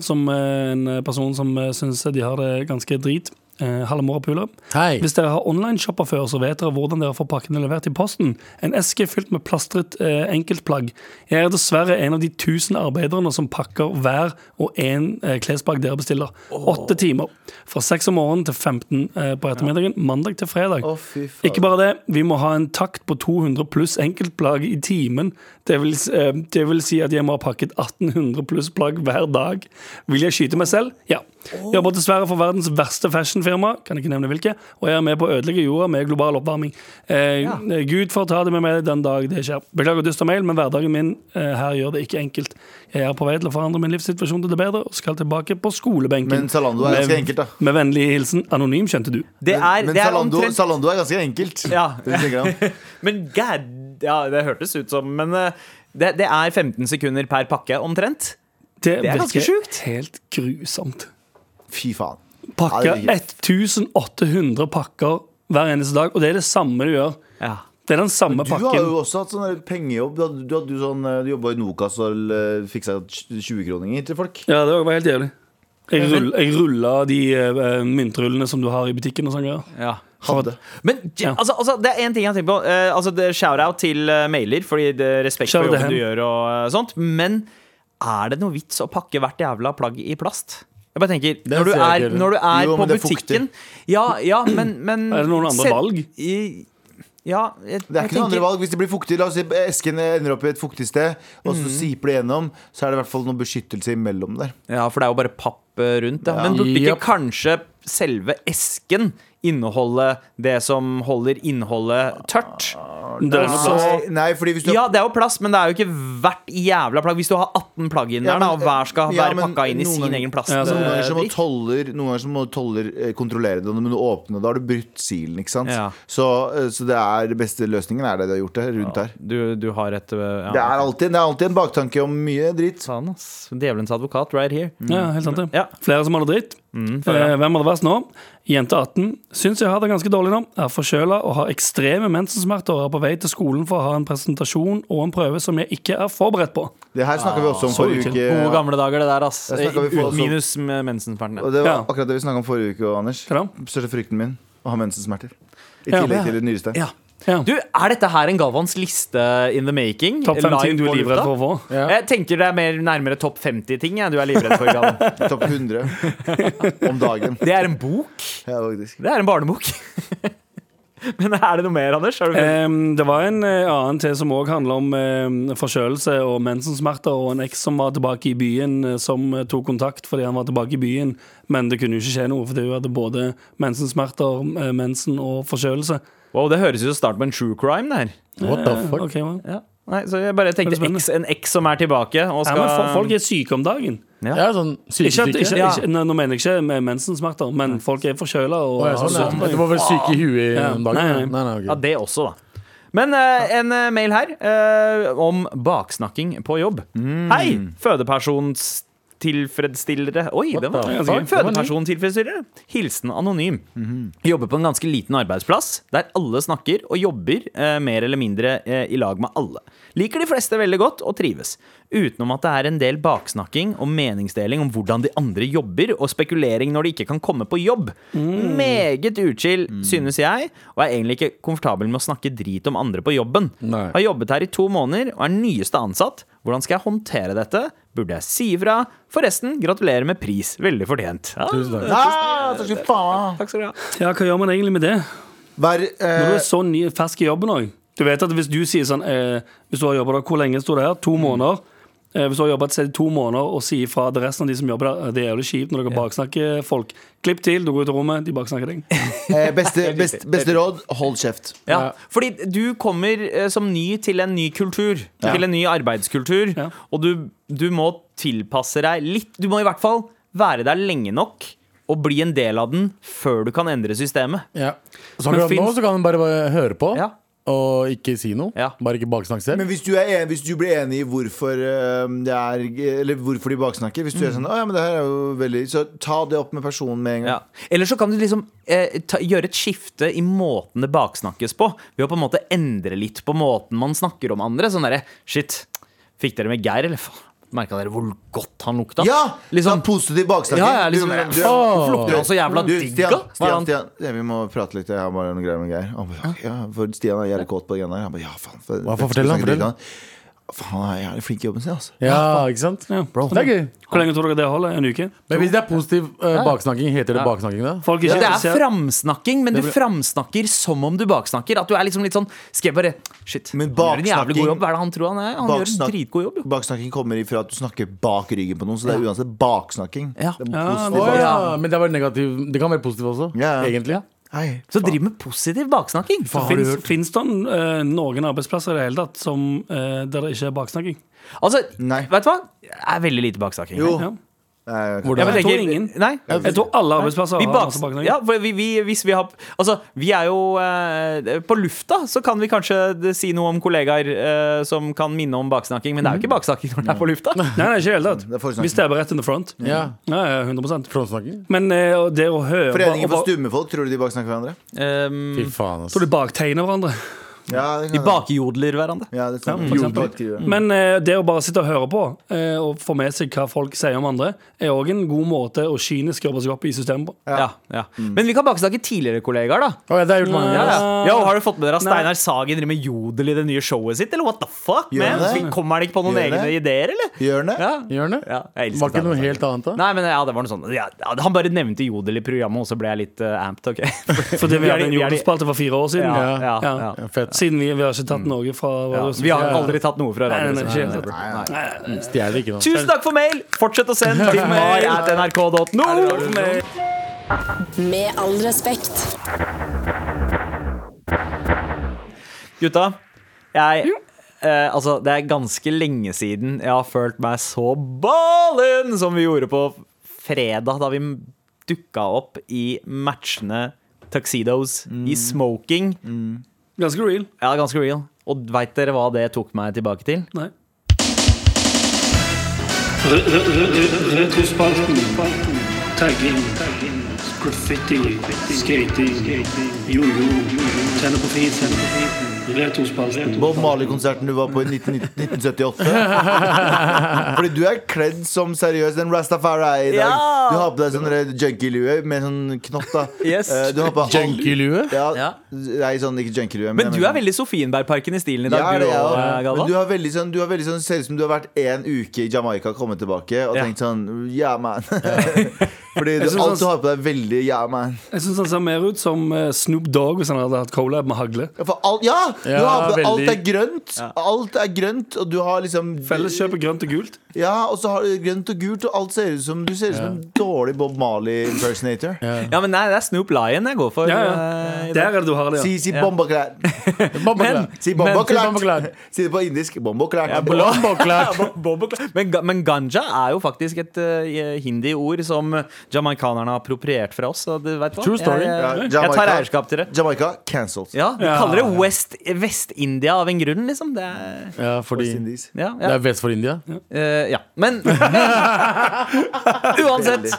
Speaker 3: som eh, en person som eh, syns de har det ganske drit. Eh, Halve morapulere.
Speaker 6: Hei.
Speaker 3: Hvis dere har onlineshopper før, så vet dere hvordan dere får pakkene levert i posten. En eske fylt med plastret eh, enkeltplagg. Jeg er dessverre en av de tusen arbeiderne som pakker hver og en eh, klesplagg dere bestiller. Åtte timer. Fra seks om morgenen til 15 eh, på ettermiddagen, mandag til fredag.
Speaker 5: Å, fy faen.
Speaker 3: Ikke bare det, vi må ha en takt på 200 pluss enkeltplagg i timen. Det vil, s- eh, det vil si at jeg må ha pakket 1800 pluss plagg hver dag. Vil jeg skyte meg selv? Ja. Jeg jobber dessverre for verdens verste fashionfirma, kan ikke nevne hvilke, og jeg er med på å ødelegge jorda med global oppvarming. Eh, eh, Gud får ta det med meg den dag det skjer. Beklager dyster mail, men hverdagen min eh, her gjør det ikke enkelt. Jeg er på vei til å forandre min livssituasjon til det bedre, og skal tilbake på skolebenken.
Speaker 5: Men Zalando er
Speaker 3: Med-
Speaker 5: ganske enkelt, da.
Speaker 3: Med vennlig hilsen anonym, skjønte du.
Speaker 4: Det er,
Speaker 5: men
Speaker 4: det er
Speaker 5: Zalando,
Speaker 4: omtrent
Speaker 5: Zalando er ganske enkelt.
Speaker 4: Ja.
Speaker 5: Det tenker jeg om.
Speaker 4: Men gad Ja, det hørtes ut som Men eh, det, det er 15 sekunder per pakke, omtrent.
Speaker 3: Det,
Speaker 4: Det er ganske
Speaker 3: virker
Speaker 4: sjukt.
Speaker 3: Helt grusomt.
Speaker 5: Fy faen. Ja,
Speaker 3: Pakker
Speaker 5: det virker.
Speaker 3: 1800 pakker hver eneste dag, og det er det samme du gjør.
Speaker 4: Ja.
Speaker 3: Det er den samme
Speaker 5: Du har
Speaker 3: pakken.
Speaker 5: jo også hatt sånn der pengejobb. Du, hadde- du, hadde jo sånn, eh, du jobba i Nokas og eh, fiksa 20-kroninger til folk.
Speaker 3: Ja, det var helt jævlig. Jeg rull- jeg rulla de eh, myntrullene som du har i butikken og sånn greier.
Speaker 4: ja.
Speaker 5: Hadde.
Speaker 4: Men j- altså, altså, det er én ting jeg tenker på. Eh, altså, det- Shout-out til eh, mailer, fordi det er respekt for
Speaker 3: Shout-out
Speaker 4: jobben du
Speaker 3: til
Speaker 4: gjør. og eh, sånt Men er det noe vits å pakke hvert jævla plagg i plast? Jeg bare tenker, Når du
Speaker 6: ser jeg
Speaker 4: er,
Speaker 6: ikke heller.
Speaker 4: når du er
Speaker 5: Jo,
Speaker 4: på
Speaker 5: men det er
Speaker 4: butikken Ja, ja, men, men
Speaker 3: Er det noen
Speaker 4: se-
Speaker 3: andre valg?
Speaker 4: i- Ja, jeg,
Speaker 5: Det er
Speaker 4: jeg
Speaker 5: ikke noen
Speaker 4: tenker-
Speaker 5: andre valg Hvis det blir fuktig La oss si esken ender opp i et fuktig sted Og
Speaker 4: Mm.
Speaker 5: så siper det gjennom Så er det i hvert fall noe beskyttelse imellom der
Speaker 4: Ja, for det er jo bare papp eh, rundt. Da. Men burde ikke
Speaker 6: Japp.
Speaker 4: kanskje selve esken inneholde det som holder innholdet tørt?
Speaker 3: Det er noe
Speaker 5: så,
Speaker 3: plass.
Speaker 5: Nei, fordi hvis du
Speaker 4: Ja, det er jo plass, men det er jo ikke hvert jævla plagg. Hvis du har 18 plagg inn der,
Speaker 5: Ja,
Speaker 4: da, og
Speaker 5: men-
Speaker 4: hver skal
Speaker 5: ja,
Speaker 4: være
Speaker 5: men
Speaker 4: pakka inn i
Speaker 5: noen
Speaker 4: sin
Speaker 5: ganger-
Speaker 4: egen plast
Speaker 3: Ja,
Speaker 5: Noen ganger så må
Speaker 4: eh, drikk.
Speaker 5: toller, noen ganger så må toller eh, kontrollere det. Når du må åpne, da har du brutt silen. ikke sant?
Speaker 4: Ja.
Speaker 5: Så, eh, så det er beste løsningen er det de har gjort det rundt her.
Speaker 4: Du, du har et eh, ja.
Speaker 5: Det er, alltid, det er alltid en baktanke om mye dritt.
Speaker 4: Faen, ass. Djevelens advokat right here.
Speaker 3: Ja, helt sant det.
Speaker 4: Ja. Mm,
Speaker 3: Flere som hadde dritt. eh, hvem hadde verst nå? Jente 18. Syns jeg har det ganske dårlig nå. Er forkjøla og har ekstreme mensensmerter og er på vei til skolen for å ha en presentasjon og en prøve som jeg ikke er forberedt på.
Speaker 5: Det her snakka vi også om
Speaker 3: så
Speaker 5: forrige
Speaker 3: utydelig.
Speaker 5: uke.
Speaker 4: Gode gamle dager, det der, ass.
Speaker 5: Jeg snakker vi får
Speaker 4: Ut-
Speaker 5: også-
Speaker 4: Minus med mensensmertene.
Speaker 5: Og det var
Speaker 3: Ja.
Speaker 5: akkurat det vi snakka om forrige uke, Anders.
Speaker 3: Hva da?
Speaker 5: Største frykten min å ha mensensmerter. I
Speaker 3: Ja.
Speaker 5: tillegg til det nyrestein.
Speaker 4: Ja.
Speaker 3: Ja.
Speaker 4: Du, er dette her en Galvans liste in the making?
Speaker 3: Topp fem
Speaker 4: Live
Speaker 3: ting du
Speaker 4: på
Speaker 3: er livredd
Speaker 4: lufta?
Speaker 3: for å få.
Speaker 6: Ja.
Speaker 4: Jeg tenker det er mer nærmere topp 50 ting jeg, du er livredd for. Galvan.
Speaker 5: Topp 100 om dagen.
Speaker 4: Det er en bok.
Speaker 5: Ja, faktisk.
Speaker 4: Det er en barnebok. Men er det noe mer, Anders? Er du
Speaker 3: Em, det var en eh, annen til som òg handla om eh, forkjølelse og mensensmerter, og en eks som var tilbake i byen, eh, som eh, tok kontakt fordi han var tilbake i byen, men det kunne jo ikke skje noe, fordi hun hadde både mensensmerter, eh, mensen og forkjølelse.
Speaker 4: Wow, det høres ut som starten på en true crime. det her
Speaker 6: What the
Speaker 3: Eh,
Speaker 6: fuck?
Speaker 3: ok, well.
Speaker 4: ja. Nei, så jeg bare tenkte
Speaker 3: Det er
Speaker 4: X, en
Speaker 3: spennende.
Speaker 4: X som er tilbake og
Speaker 3: ja,
Speaker 4: skal
Speaker 3: men for, folk er syke om dagen.
Speaker 6: Jeg er sånn
Speaker 3: Ikke at, ikke,
Speaker 6: sykesyke.
Speaker 4: Ja.
Speaker 3: ikke, nå nå mener jeg ikke med mensensmerter, men folk er forkjøla. Og,
Speaker 6: Å, jeg er sånn, ja.
Speaker 3: har
Speaker 6: Det var vel syke i huet i
Speaker 3: Ja.
Speaker 6: en dag?
Speaker 3: Nei,
Speaker 6: Nei,
Speaker 3: nei.
Speaker 6: nei, ok.
Speaker 4: Ja, det også, da. Men eh, en eh, mail her eh, om baksnakking på jobb. Mm. Hei, fødepersonstilfredsstillere. Oi, det var,
Speaker 3: the
Speaker 4: det
Speaker 3: fuck?
Speaker 4: var Fødepersonstilfredsstillere. Hilsen anonym. Jobber på en ganske liten arbeidsplass, der alle snakker og jobber eh, mer eller mindre eh, i lag med alle. Liker de fleste veldig godt og trives. Utenom at det er en del baksnakking og meningsdeling om hvordan de andre jobber, og spekulering når de ikke kan komme på jobb. Meget uchill, synes jeg, og er egentlig ikke komfortabel med å snakke drit om andre på jobben.
Speaker 6: Nei.
Speaker 4: Har jobbet her i to måneder og er nyeste ansatt. Hvordan skal jeg håndtere dette? Burde jeg si ifra? Forresten, gratulerer med pris. Veldig fortjent. Ja,
Speaker 6: Tusen takk.
Speaker 5: Ah, takk skal du faen.
Speaker 4: takk skal du ha.
Speaker 3: Ja, hva gjør man egentlig med det?
Speaker 5: Vær,
Speaker 3: Når du er
Speaker 5: eh,
Speaker 3: så ny, fersk i jobben òg. Du vet at hvis du sier sånn eh, Hvis du har jobba der, hvor lenge står det her? To måneder. Eh, hvis du har jobbet et sted i to måneder og sier fra til resten av de som jobber der, eh, det er jævlig kjipt når dere baksnakker folk. Klipp til, du går ut av rommet, de baksnakker deg.
Speaker 5: eh, beste, best, beste råd hold kjeft.
Speaker 4: Ja, fordi du kommer eh, som ny til en ny kultur, til en ny arbeidskultur,
Speaker 3: Ja.
Speaker 4: og du, du må tilpasse deg litt. Du må i hvert fall være der lenge nok og bli en del av den før du kan endre systemet.
Speaker 6: Ja. Så
Speaker 3: Men
Speaker 6: akkurat nå
Speaker 3: finnes-
Speaker 6: så kan han bare eh, høre på
Speaker 4: Ja.
Speaker 6: og ikke si noe.
Speaker 4: Ja.
Speaker 6: Bare ikke baksnakke selv.
Speaker 5: Men hvis du, er en, hvis du blir enig i hvorfor, eh, det er, eller hvorfor de baksnakker Hvis du er
Speaker 4: Mm.
Speaker 5: sånn, «Å ja, men det her er jo veldig Så ta det opp med personen med en gang.
Speaker 4: Ja. Eller så kan du liksom eh, ta, gjøre et skifte i måten det baksnakkes på. Ved å på en måte endre litt på måten man snakker om andre. Sånn derre Shit, fikk dere med Geir, eller faen? Merka dere hvor godt han lukta?
Speaker 5: Ja!
Speaker 4: liksom,
Speaker 5: ta positiv baksnakking.
Speaker 4: Ja, ja, liksom,
Speaker 5: Du- du-
Speaker 4: «Faen, hvorfor lukter han så jævla
Speaker 5: du,
Speaker 4: digg, da?
Speaker 5: Stian,
Speaker 4: Hva er han-
Speaker 5: Stian, Stian, ja, vi må prate litt. Jeg har bare noen greier med Geir. Han bare, ja, for Stian er jævlig kåt på det greiene der. Han bare, ja, faen, for,
Speaker 6: Hva for- fortell han,
Speaker 5: snakker
Speaker 6: fortell.
Speaker 5: dritt, han. Faen, han er jævlig flink i jobben sin, altså.
Speaker 6: Ja, ikke sant?
Speaker 3: Ja. sånn.
Speaker 6: Det er gøy.
Speaker 3: Hvor lenge tror dere det holder? En uke?
Speaker 6: Men hvis det er positiv eh, baksnakking, heter
Speaker 4: Ja.
Speaker 6: det baksnakking da?
Speaker 3: Folk er ikke
Speaker 4: Det er
Speaker 3: interessert.
Speaker 4: framsnakking, men du framsnakker som om du baksnakker. At du er liksom litt sånn Skal jeg bare Shit,
Speaker 5: Men
Speaker 4: han gjør en jævlig god
Speaker 5: baksnakking-
Speaker 4: jobb. Hva er det han tror han er? Han gjør en
Speaker 5: Baksnak-
Speaker 4: dritgod jobb, jo.
Speaker 5: Baksnakking kommer ifra at du snakker bak ryggen på noen, så det er uansett baksnakking.
Speaker 4: Ja.
Speaker 5: Det er
Speaker 3: Ja,
Speaker 5: positiv
Speaker 6: Å
Speaker 5: baksnakking.
Speaker 6: ja, men det, er bare negativ. det kan være positiv også,
Speaker 5: Ja, ja.
Speaker 6: egentlig.
Speaker 5: Hei.
Speaker 4: Så driv med positiv baksnakking.
Speaker 3: Fins, fins det eh, noen arbeidsplasser i det hele tatt som, eh, der det ikke er baksnakking?
Speaker 4: Altså,
Speaker 5: Nei.
Speaker 4: vet du hva? Det er veldig lite baksnakking.
Speaker 5: Jo.
Speaker 3: Ja.
Speaker 5: Nei,
Speaker 6: Hvordan?
Speaker 4: Jeg bare
Speaker 3: Jeg tror
Speaker 4: tenker-
Speaker 3: ingen.
Speaker 4: Nei.
Speaker 3: Jeg tror alle arbeidsplasser
Speaker 4: Vi,
Speaker 3: har
Speaker 4: baks,
Speaker 3: masse baksnakking.
Speaker 4: ja, for vi, vi, hvis vi, har, altså, vi er jo eh, på lufta, så kan vi kanskje si noe om kollegaer eh, som kan minne om baksnakking, men det er jo ikke baksnakking når det er på lufta.
Speaker 3: Mm. Nei, nei, ikke i det
Speaker 5: Det
Speaker 3: hele
Speaker 5: er
Speaker 3: tatt.
Speaker 5: forsnakking.
Speaker 3: Vi stabber rett in the front.
Speaker 6: Ja.
Speaker 3: Ja, ja, 100
Speaker 6: Frontsnakking?
Speaker 3: Men eh, og det å høre
Speaker 5: Foreningen
Speaker 3: og-
Speaker 5: for
Speaker 3: og-
Speaker 5: stumme folk, tror du de baksnakker hverandre?
Speaker 6: Mm.
Speaker 4: Um,
Speaker 6: Fy faen, ass.
Speaker 3: Tror du baktegner hverandre?
Speaker 5: Ja, det
Speaker 4: De
Speaker 5: kan være.
Speaker 4: bakjodler hverandre.
Speaker 5: ja, det
Speaker 3: Ja,
Speaker 5: stemmer.
Speaker 3: for eksempel.
Speaker 5: Jordbruket.
Speaker 3: Men eh, det å bare sitte og høre på eh, og få med seg hva folk sier om andre, er òg en god måte å kynisk jobbe seg opp i systemet på.
Speaker 4: Ja, ja. Men vi kan baksnakke tidligere kollegaer, da.
Speaker 6: Å, ja, det har jeg gjort mange
Speaker 3: Ja,
Speaker 6: ganger.
Speaker 4: Ja,
Speaker 6: ass.
Speaker 4: ja. og Har du fått med dere at
Speaker 3: Nei.
Speaker 4: Steinar Sagen driver med jodel i det nye showet sitt? Eller what the fuck?
Speaker 5: Gjør
Speaker 4: Man?
Speaker 5: han det?
Speaker 4: Kommer han ikke på noen
Speaker 5: Gjør han
Speaker 4: egne
Speaker 5: det?
Speaker 4: ideer, eller?
Speaker 5: Gjør den det?
Speaker 4: Ja.
Speaker 6: Gjør den det?
Speaker 4: Ja, jeg elsker
Speaker 6: Var ikke
Speaker 4: Steinar
Speaker 6: noe
Speaker 4: Sagen.
Speaker 6: helt annet, da?
Speaker 4: Nei, men ja, det var noe sånn ja, Han bare nevnte jodel i programmet, og så ble jeg litt eh, amped. ok
Speaker 3: Fordi vi
Speaker 4: er
Speaker 3: hadde
Speaker 4: de- vi er de-
Speaker 3: en jordenspalte for fire år siden.
Speaker 4: Ja, ja, ja, Mm.
Speaker 3: Ja.
Speaker 6: Ja, fett.
Speaker 3: Siden vi, vi har ikke tatt noe fra
Speaker 4: Ja, Vi har aldri tatt noe fra
Speaker 3: Nei, nei, nei,
Speaker 4: radioen.
Speaker 3: ikke helt.
Speaker 6: Stjeler ikke noe.
Speaker 4: Tusen takk for mail! Fortsett å sende til mail at nrk.no.
Speaker 1: Med all respekt.
Speaker 4: Gutta, jeg eh, Altså, det er ganske lenge siden jeg har følt meg så ballen som vi gjorde på fredag, da vi dukka opp i matchende tuxedos i smoking.
Speaker 3: Ganske real.
Speaker 4: Ja, ganske real. Og veit dere hva det tok meg tilbake til?
Speaker 3: Nei.
Speaker 7: Retrospalten. Tagging. Graffiti. Skating. Jojo. Tenner på fisen. Retrospalten.
Speaker 5: Bob Marley-konserten du var på i 19, 1978. Fordi du er kledd som seriøs en Rastafari i dag.
Speaker 4: Ja!
Speaker 5: Du har på deg sånn der junkie-lue med sånn knott. da
Speaker 4: Yes.
Speaker 5: Eh, Du har på
Speaker 6: Junkie-lue?
Speaker 5: Ja,
Speaker 4: Ja.
Speaker 5: Nei, sånn ikke junkie-lue.
Speaker 4: Men du er veldig Sofienbergparken i stilen i dag.
Speaker 5: ja,
Speaker 4: du
Speaker 5: det er
Speaker 4: også, eh,
Speaker 5: jeg også.
Speaker 4: Galvan.
Speaker 5: Men du har veldig sånn, du har veldig sånn ser ut som du har vært én uke i Jamaica og kommet tilbake og
Speaker 4: Ja.
Speaker 5: tenkt sånn Yeah, man. Fordi du,
Speaker 3: synes
Speaker 5: alt
Speaker 3: sånn-
Speaker 5: du har på deg, er veldig yeah, man.
Speaker 3: Jeg syns han ser mer ut som eh, Snoop Dogg hvis han hadde hatt collab med hagle.
Speaker 5: Ja, For alt, ja! Du
Speaker 6: Ja,
Speaker 5: har på deg, alt er
Speaker 6: veldig.
Speaker 5: grønt. Alt er grønt, og du har liksom
Speaker 3: Felleskjøp er grønt og gult.
Speaker 5: Ja, og så har du grønt og gult, og alt ser ut som Du ser ut som en dårlig Bob Marley-impersonator.
Speaker 4: Ja, men nei, det er Snoop Lion jeg går for.
Speaker 3: Ja, ja.
Speaker 4: eh, i
Speaker 3: Der
Speaker 4: dag.
Speaker 3: er det du har det,
Speaker 5: Si,
Speaker 3: ja.
Speaker 5: si bombaklær.
Speaker 6: Men
Speaker 5: Si
Speaker 6: si
Speaker 5: bombaklær.
Speaker 6: bombaklær.
Speaker 5: Si det på indisk. Bombaklær.
Speaker 4: Ja, bla- Ja, bo- bo- bo- men, ga- men ganja er jo faktisk et eh, hindi-ord som jamaicanerne har appropriert fra oss. Så du vet hva?
Speaker 6: True story.
Speaker 4: Jeg,
Speaker 5: Ja,
Speaker 4: jeg, jeg
Speaker 5: Jamaica.
Speaker 4: tar eierskap til det.
Speaker 5: Jamaica cancelled.
Speaker 4: Ja, Vi
Speaker 3: Ja.
Speaker 4: kaller det West- Vest-India av en grunn, liksom. Det er,
Speaker 6: Ja, fordi
Speaker 5: West Indies.
Speaker 4: ja,
Speaker 6: Det
Speaker 4: ja.
Speaker 6: er vest for India.
Speaker 4: Eh, ja. Men uansett.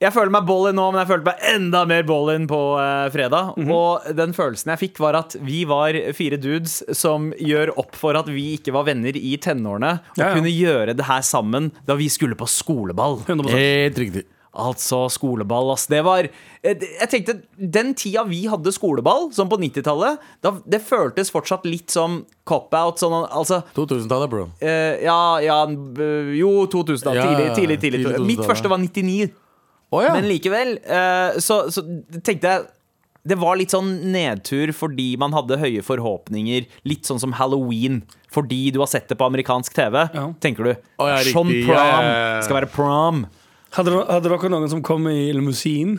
Speaker 4: Jeg føler meg ball in nå, men jeg følte meg enda mer ball in på eh, fredag.
Speaker 3: Mhm.
Speaker 4: Og den følelsen jeg fikk, var at vi var fire dudes som gjør opp for at vi ikke var venner i tenårene, og
Speaker 3: Ja, ja.
Speaker 4: kunne gjøre det her sammen da vi skulle på skoleball.
Speaker 3: 100
Speaker 6: Helt riktig.
Speaker 4: Altså, skoleball, ass. Det var eh, Jeg tenkte, den tida vi hadde skoleball, som på 90-tallet, da- det føltes fortsatt litt som cop-out. Sånn, altså
Speaker 6: 2000-tallet, bro.
Speaker 4: eh, Ja, ja b- Jo, 2000, da.
Speaker 6: Ja,
Speaker 4: Tidlig, tidlig, tidlig.
Speaker 6: tidlig 2000-tallet.
Speaker 4: Mitt første var 99.
Speaker 6: Å ja.
Speaker 4: Men likevel, eh, så, så tenkte jeg det var litt sånn nedtur fordi man hadde høye forhåpninger. Litt sånn som Halloween, fordi du har sett det på amerikansk TV.
Speaker 3: Ja.
Speaker 4: Tenker du
Speaker 6: Å, ja,
Speaker 4: Sean
Speaker 6: riktig. Ja,
Speaker 4: Prom
Speaker 6: ja, ja, ja.
Speaker 4: skal være prom.
Speaker 3: Hadde, dere- hadde dere noen som kom i limousin?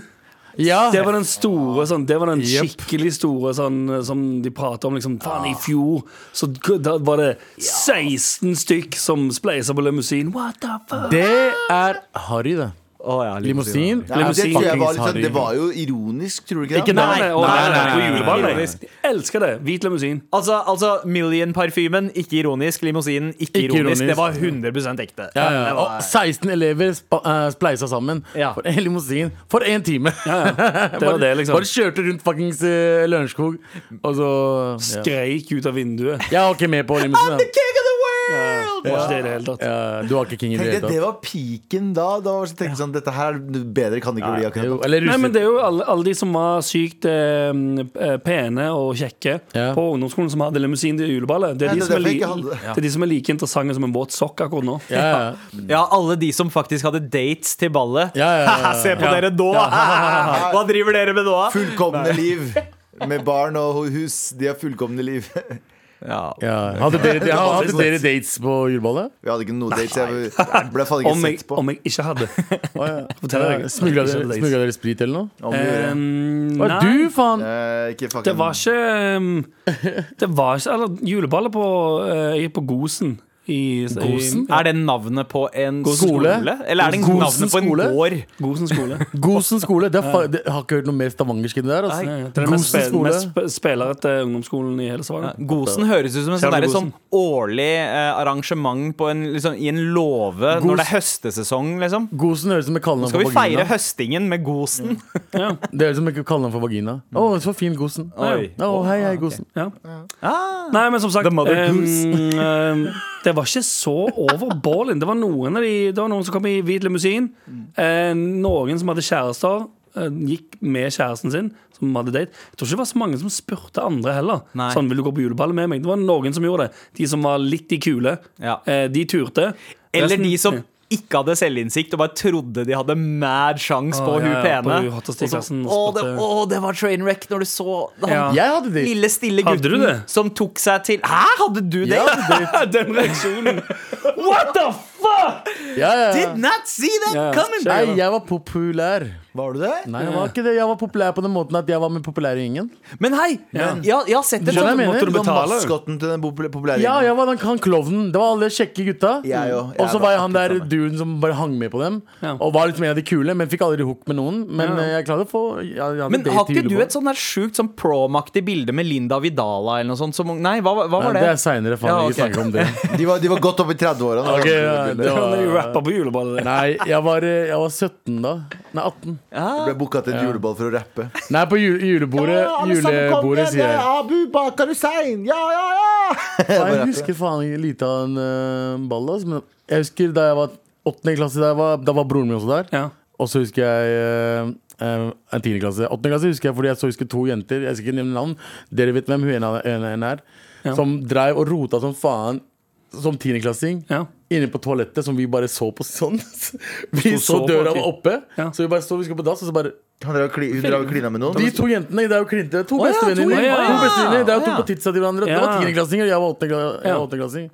Speaker 6: Ja.
Speaker 3: Det var den store sånn, Det var den
Speaker 6: Jep. Ah.
Speaker 3: skikkelig store sånn, som de prater om liksom, Faen, i fjor Så g- da var det 16 stykk som spleiset på limousin What the fuck?
Speaker 6: Det er harry, det.
Speaker 4: Å, ja,
Speaker 6: Limousin.
Speaker 5: Ja, det, tror jeg var litt sånn,
Speaker 6: Fuckings
Speaker 5: det var jo ironisk, tror du ikke
Speaker 6: Ikke
Speaker 5: det?
Speaker 6: nei,
Speaker 3: og-
Speaker 6: nei, nei, nei,
Speaker 3: og
Speaker 6: nei,
Speaker 3: julebarn,
Speaker 6: nei, nei.
Speaker 3: jeg. Jeg elsker det, hvit limousin
Speaker 4: Altså, altså Million-parfymen, ikke ironisk. Limousinen, ikke,
Speaker 6: Ikke
Speaker 4: ironisk.
Speaker 6: ironisk.
Speaker 4: Det var 100 ekte.
Speaker 6: Ja, ja.
Speaker 4: Det
Speaker 6: Og
Speaker 4: var,
Speaker 6: 16 elever spa, eh, spleisa sammen
Speaker 4: Ja.
Speaker 6: for en limousin for én time.
Speaker 3: Det var det liksom
Speaker 6: Bare kjørte rundt fuckings uh, Lørenskog, og så ja.
Speaker 3: Skreik ut av vinduet
Speaker 6: Jeg var ikke med på limousin. da.
Speaker 4: King of the world!
Speaker 3: Det var ikke det i det hele tatt
Speaker 6: Ja, du var ikke king i det
Speaker 5: Tenk deg,
Speaker 6: hele
Speaker 5: det
Speaker 6: tatt.
Speaker 5: var piken da. Da var jeg tenkte jeg sånn, Dette her er bedre kan det ikke bli akkurat
Speaker 6: Jo,
Speaker 5: nå.
Speaker 6: Eller
Speaker 3: Nei, men det
Speaker 6: russet.
Speaker 3: er jo alle, alle de som var sykt eh, eh, pene og kjekke
Speaker 6: Ja.
Speaker 3: På ungdomsskolen som hadde limousin til juleballet Det
Speaker 5: Ja,
Speaker 3: er, de
Speaker 5: det er
Speaker 3: som er,
Speaker 5: derfor
Speaker 3: li
Speaker 5: jeg ikke hadde det.
Speaker 3: det er de som er like interessante som en våt sokk akkurat nå
Speaker 6: Ja, ja.
Speaker 4: Ja, alle de som faktisk hadde dates til ballet.
Speaker 6: Ja, ja, ja, ja.
Speaker 4: Se på dere nå! Hva driver dere med nå?
Speaker 5: Fullkomne liv. Med barn og hus. De har fullkomne liv. Vi
Speaker 4: Ja.
Speaker 6: Ja. Hadde, dere, ja, hadde dere dates på juleballet?
Speaker 5: hadde ikke noe dates. Jeg ble faen
Speaker 3: Om
Speaker 5: ikke
Speaker 3: jeg,
Speaker 5: sett på.
Speaker 3: om jeg ikke hadde
Speaker 6: Oh, ja.
Speaker 3: Fortell deg.
Speaker 6: Smugla
Speaker 3: Ikke
Speaker 6: dere,
Speaker 3: dates.
Speaker 6: smugla dere sprit eller noe?
Speaker 5: Om vi gjorde det.
Speaker 3: Um,
Speaker 6: Hva er du, faen?
Speaker 5: Eh, Ikke fucking
Speaker 3: Det var ikke um, Det var ikke Eller juleballet på eh, Jeg gikk på Gosen I,
Speaker 6: Gosen?
Speaker 3: I,
Speaker 4: Er det navnet på en
Speaker 6: Gosen skole?
Speaker 4: skole? Eller er det
Speaker 6: Gosen
Speaker 4: navnet på en
Speaker 6: skole?
Speaker 4: gård?
Speaker 3: Gosen skole.
Speaker 6: Gosen skole. Det er fa det, jeg har ikke hørt noe mer stavangersk enn det
Speaker 3: Ja,
Speaker 6: der.
Speaker 3: ja.
Speaker 6: Altså.
Speaker 3: Det er den mest,
Speaker 6: Gosen
Speaker 3: spe
Speaker 6: skole.
Speaker 3: mest sp- spelerete ungdomsskolen i hele Stavanger.
Speaker 4: Gosen høres ut som en sånn
Speaker 3: Kjærlig
Speaker 4: derre sånn
Speaker 3: Gosen.
Speaker 4: årlig eh, arrangement på en, liksom, i en låve
Speaker 6: Gos-
Speaker 4: når det er høstesesong, liksom.
Speaker 6: Gosen høres ut som et kallenavn
Speaker 4: Skal
Speaker 6: for
Speaker 4: vi feire
Speaker 6: vagina.
Speaker 4: høstingen med Gosen?
Speaker 6: Det høres ut som et kallenavn for vagina.
Speaker 3: Mm.
Speaker 6: Å, så fin Gosen. Å,
Speaker 4: Oi.
Speaker 6: hei, hei, Gosen.
Speaker 3: Ja. Nei, men som sagt
Speaker 4: Ah, The Mother
Speaker 3: ehm,
Speaker 4: Goose.
Speaker 3: ehm, Det var ikke så over ballen. Det var noen, av de, det var noen som kom i hvit limousin.
Speaker 4: Mm.
Speaker 3: Eh, noen som hadde kjærester. eh, Gikk med kjæresten sin, som hadde date. Jeg tror ikke det var så mange som spurte andre heller.
Speaker 4: Nei.
Speaker 3: Sånn, vil du gå på juleball med meg? Det var noen som gjorde det. De som var litt de kule.
Speaker 4: Ja.
Speaker 3: Eh, de turte.
Speaker 4: Eller de
Speaker 3: Resten-
Speaker 4: som ikke hadde selvinnsikt og bare trodde de hadde mad sjanse på
Speaker 3: Å,
Speaker 4: hun
Speaker 3: ja, ja, på
Speaker 4: pene.
Speaker 3: hun hotteste i
Speaker 4: Og så,
Speaker 3: klassen,
Speaker 4: Å,
Speaker 3: og
Speaker 4: det,
Speaker 3: spotte-
Speaker 4: å, det var train wreck når du så han
Speaker 3: Ja.
Speaker 6: Jeg hadde det.
Speaker 4: lille, stille
Speaker 3: Hadde du
Speaker 4: gutten
Speaker 3: det?
Speaker 4: som tok seg til Hæ, hadde du det?
Speaker 6: Jeg hadde det.
Speaker 3: Den reaksjonen.
Speaker 4: What the fuck?
Speaker 6: Ja, ja, ja.
Speaker 4: Did not see that
Speaker 3: Ja,
Speaker 4: coming!
Speaker 6: Nei, jeg var populær.
Speaker 5: Var du det?
Speaker 6: Nei, jeg var ikke det. Jeg var populær på den måten at jeg var med populære gjengen.
Speaker 4: Men hei, jeg, jeg har sett et
Speaker 6: Skjønner jeg mener?
Speaker 5: Du var
Speaker 3: betaler.
Speaker 5: maskotten til den popul- populære
Speaker 6: Ja,
Speaker 5: gjengen.
Speaker 6: jeg var den, han klovnen. Det var alle kjekke gutta.
Speaker 5: Jeg òg. Jeg
Speaker 6: Og så
Speaker 5: var
Speaker 6: var jeg han
Speaker 5: akkurat
Speaker 6: der
Speaker 5: samme.
Speaker 6: duden som bare hang med på dem.
Speaker 3: Ja.
Speaker 6: Og var liksom en av de kule, men fikk aldri hook med noen. Men
Speaker 3: Ja.
Speaker 6: eh, jeg klarte å få jeg, jeg hadde
Speaker 4: Men
Speaker 6: date
Speaker 4: har
Speaker 6: til
Speaker 4: ikke du
Speaker 6: julebord.
Speaker 4: et sånn der sjukt sånn promaktig bilde med Linda Vidala eller noe sånt? Som, nei, hva, hva
Speaker 6: Nei,
Speaker 4: var det?
Speaker 6: det er seinere, faen.
Speaker 4: Ja, ok.
Speaker 6: Ikke snakke om det.
Speaker 5: De var, de var godt oppe i 30-åra. da.
Speaker 6: Ok, ja, det
Speaker 3: Når de
Speaker 6: var,
Speaker 3: rapper på juleballet.
Speaker 6: nei, jeg var, eh, jeg var 17 da. Nei, 18.
Speaker 5: Jeg ble booka til et juleball for å rappe.
Speaker 6: Nei, på jule, julebordet. Julebordet, sier jeg.
Speaker 5: Abu Bakar Hussein! Ja, ja, ja!
Speaker 6: Nei, jeg husker faen ikke lite av en eh, ball, altså, men jeg husker da jeg var åttende klasse, da var, da var broren min også der.
Speaker 3: Ja.
Speaker 6: Og så husker jeg eh, eh, en tiende klasse. Åttende klasse husker jeg fordi jeg så husker to jenter, jeg skal ikke nevne navn, dere vet hvem hun ene ene- ene er, som dreiv og rota som faen som tiendeklassing.
Speaker 3: Ja.
Speaker 6: Inne på toalettet, som vi bare så på sånn. Vi så,
Speaker 3: så på,
Speaker 6: døra
Speaker 3: ok.
Speaker 6: var oppe,
Speaker 3: Ja.
Speaker 6: så vi bare så, vi skulle på dass, og så bare
Speaker 5: Han drev og kli- Hun drev og klina med noen.
Speaker 6: De to jentene det er jo klinte. To
Speaker 4: ja, to-
Speaker 6: bestevenninner.
Speaker 3: å, ja.
Speaker 6: To bestevenninner, Det er jo to
Speaker 4: Ja.
Speaker 6: på tidsa til hverandre. Det var
Speaker 3: Ja.
Speaker 6: tiendeklassinger, og jeg var åttende- jeg
Speaker 3: Ja.
Speaker 6: var åttendeklassing.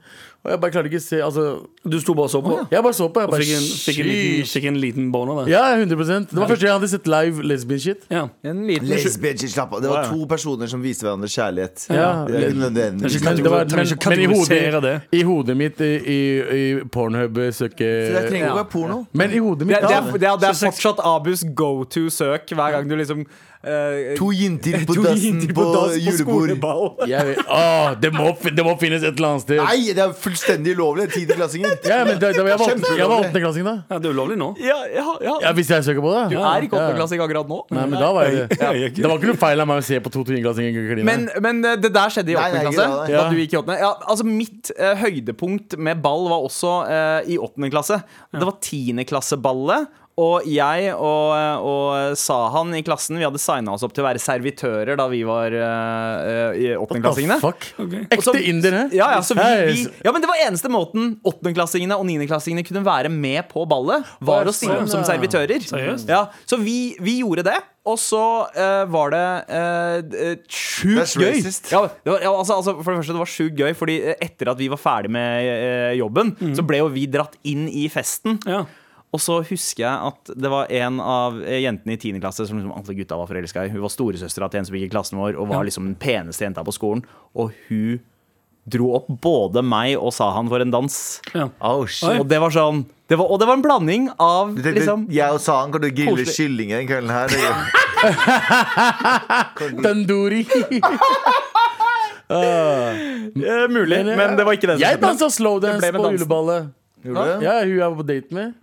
Speaker 6: Og jeg bare klarte ikke å se Altså,
Speaker 3: Du sto bare og så på.
Speaker 6: jeg bare så på. Jeg
Speaker 3: Og
Speaker 6: bare,
Speaker 3: fikk en, fikk en liten,
Speaker 6: sheesh.
Speaker 3: fikk en liten boner der.
Speaker 6: Ja, 100 Det var første gang jeg hadde sett live lesbian shit.
Speaker 3: Ja.
Speaker 4: En liten
Speaker 5: Lesbian, ikke slapp av. Det var to personer som viste hverandre kjærlighet.
Speaker 6: Ja.
Speaker 5: Det er ikke nødvendigvis-
Speaker 6: Men, det var,
Speaker 3: Trenger
Speaker 6: men,
Speaker 3: ikke
Speaker 6: men i,
Speaker 3: kategorisere
Speaker 6: hodet,
Speaker 3: det.
Speaker 6: i hodet mitt I, i, i Pornhub søke
Speaker 5: Så Det trenger ikke være porno.
Speaker 6: Men i hodet
Speaker 4: det,
Speaker 6: mitt
Speaker 4: er- det, er,
Speaker 6: da
Speaker 4: det, er, det er
Speaker 3: 26.
Speaker 4: fortsatt Abus go to-søk hver gang du liksom eh,
Speaker 5: To jenter på
Speaker 4: to
Speaker 5: dassen
Speaker 4: jenter
Speaker 5: på
Speaker 4: dass
Speaker 5: julebord.
Speaker 4: skoleball.
Speaker 6: jeg, vet- Åh, det, må, fin- det må finnes et eller annet sted.
Speaker 5: Nei, det er fullstendig ulovlig. Tiendeklassinger.
Speaker 6: Ja, men det, det, jeg var åttende- jeg var
Speaker 5: Kjempelovlig.
Speaker 6: åttendeklassing da.
Speaker 3: Ja, det er ulovlig nå.
Speaker 4: Ja, ja, ja.
Speaker 6: Ja, hvis jeg søker på det.
Speaker 4: Du er ikke
Speaker 6: Ja.
Speaker 4: åttendeklassing akkurat nå.
Speaker 6: Nei, men da var jeg det.
Speaker 3: Jeg gikk-
Speaker 6: Det var ikke noe feil av meg å se på to tiendeklassinger kline.
Speaker 4: Men, men eh, det der skjedde i
Speaker 5: Nei, nei,
Speaker 4: åttende
Speaker 5: ikke
Speaker 4: klasse.
Speaker 5: det,
Speaker 4: Da
Speaker 6: nei.
Speaker 4: du gikk i åttende ja, altså Mitt eh, høydepunkt med ball var også eh, i åttende klasse. Det var tiendeklasseballet. Og jeg og, eh, og Sahan i klassen Vi hadde signa oss opp til å være servitører da vi var eh, eh, i åttendeklassingene.
Speaker 6: Ah, Fuck.
Speaker 4: Og så-
Speaker 6: Ekte inder, hæ?
Speaker 4: Ja, ja, så
Speaker 6: Hei,
Speaker 4: vi, vi,
Speaker 6: så-
Speaker 4: ja, men det var eneste måten åttendeklassingene og niendeklassingene kunne være med på ballet, var å stille opp som
Speaker 6: Sånn, ja.
Speaker 4: servitører.
Speaker 3: Seriøst?
Speaker 4: Ja, så vi, vi gjorde det, og så eh, var det eh, d- eh, sjukt
Speaker 5: That's
Speaker 4: gøy.
Speaker 5: racist.
Speaker 4: Ja, det var, ja, altså, altså, for det første, det var sjukt gøy, fordi eh, etter at vi var ferdig med eh, jobben, så ble jo vi dratt inn i festen.
Speaker 3: Ja.
Speaker 4: Og så husker jeg at det var en av eh, jentene i 10. klasse som liksom alle gutta var forelska i. Hun var storesøstera til en som gikk i klassen vår, og var liksom den peneste jenta på skolen. Og hun dro opp både meg og Sahan for en dans.
Speaker 3: Ja.
Speaker 5: Oh, shit.
Speaker 3: Oi.
Speaker 4: Og det var sånn det var, Og det var en blanding av
Speaker 5: Du tenkte,
Speaker 4: liksom
Speaker 5: jeg og Sahan kan du grille
Speaker 4: Koselig.
Speaker 5: kyllinger den kvelden her.
Speaker 6: Tandoori.
Speaker 4: eh, Mulig, men det var ikke det
Speaker 6: Jeg
Speaker 4: som skjedde.
Speaker 6: dansa slowdance
Speaker 4: Det ble med
Speaker 6: på
Speaker 4: dansen.
Speaker 6: juleballet.
Speaker 5: Gjorde du det?
Speaker 6: Ja, hun jeg var på date med.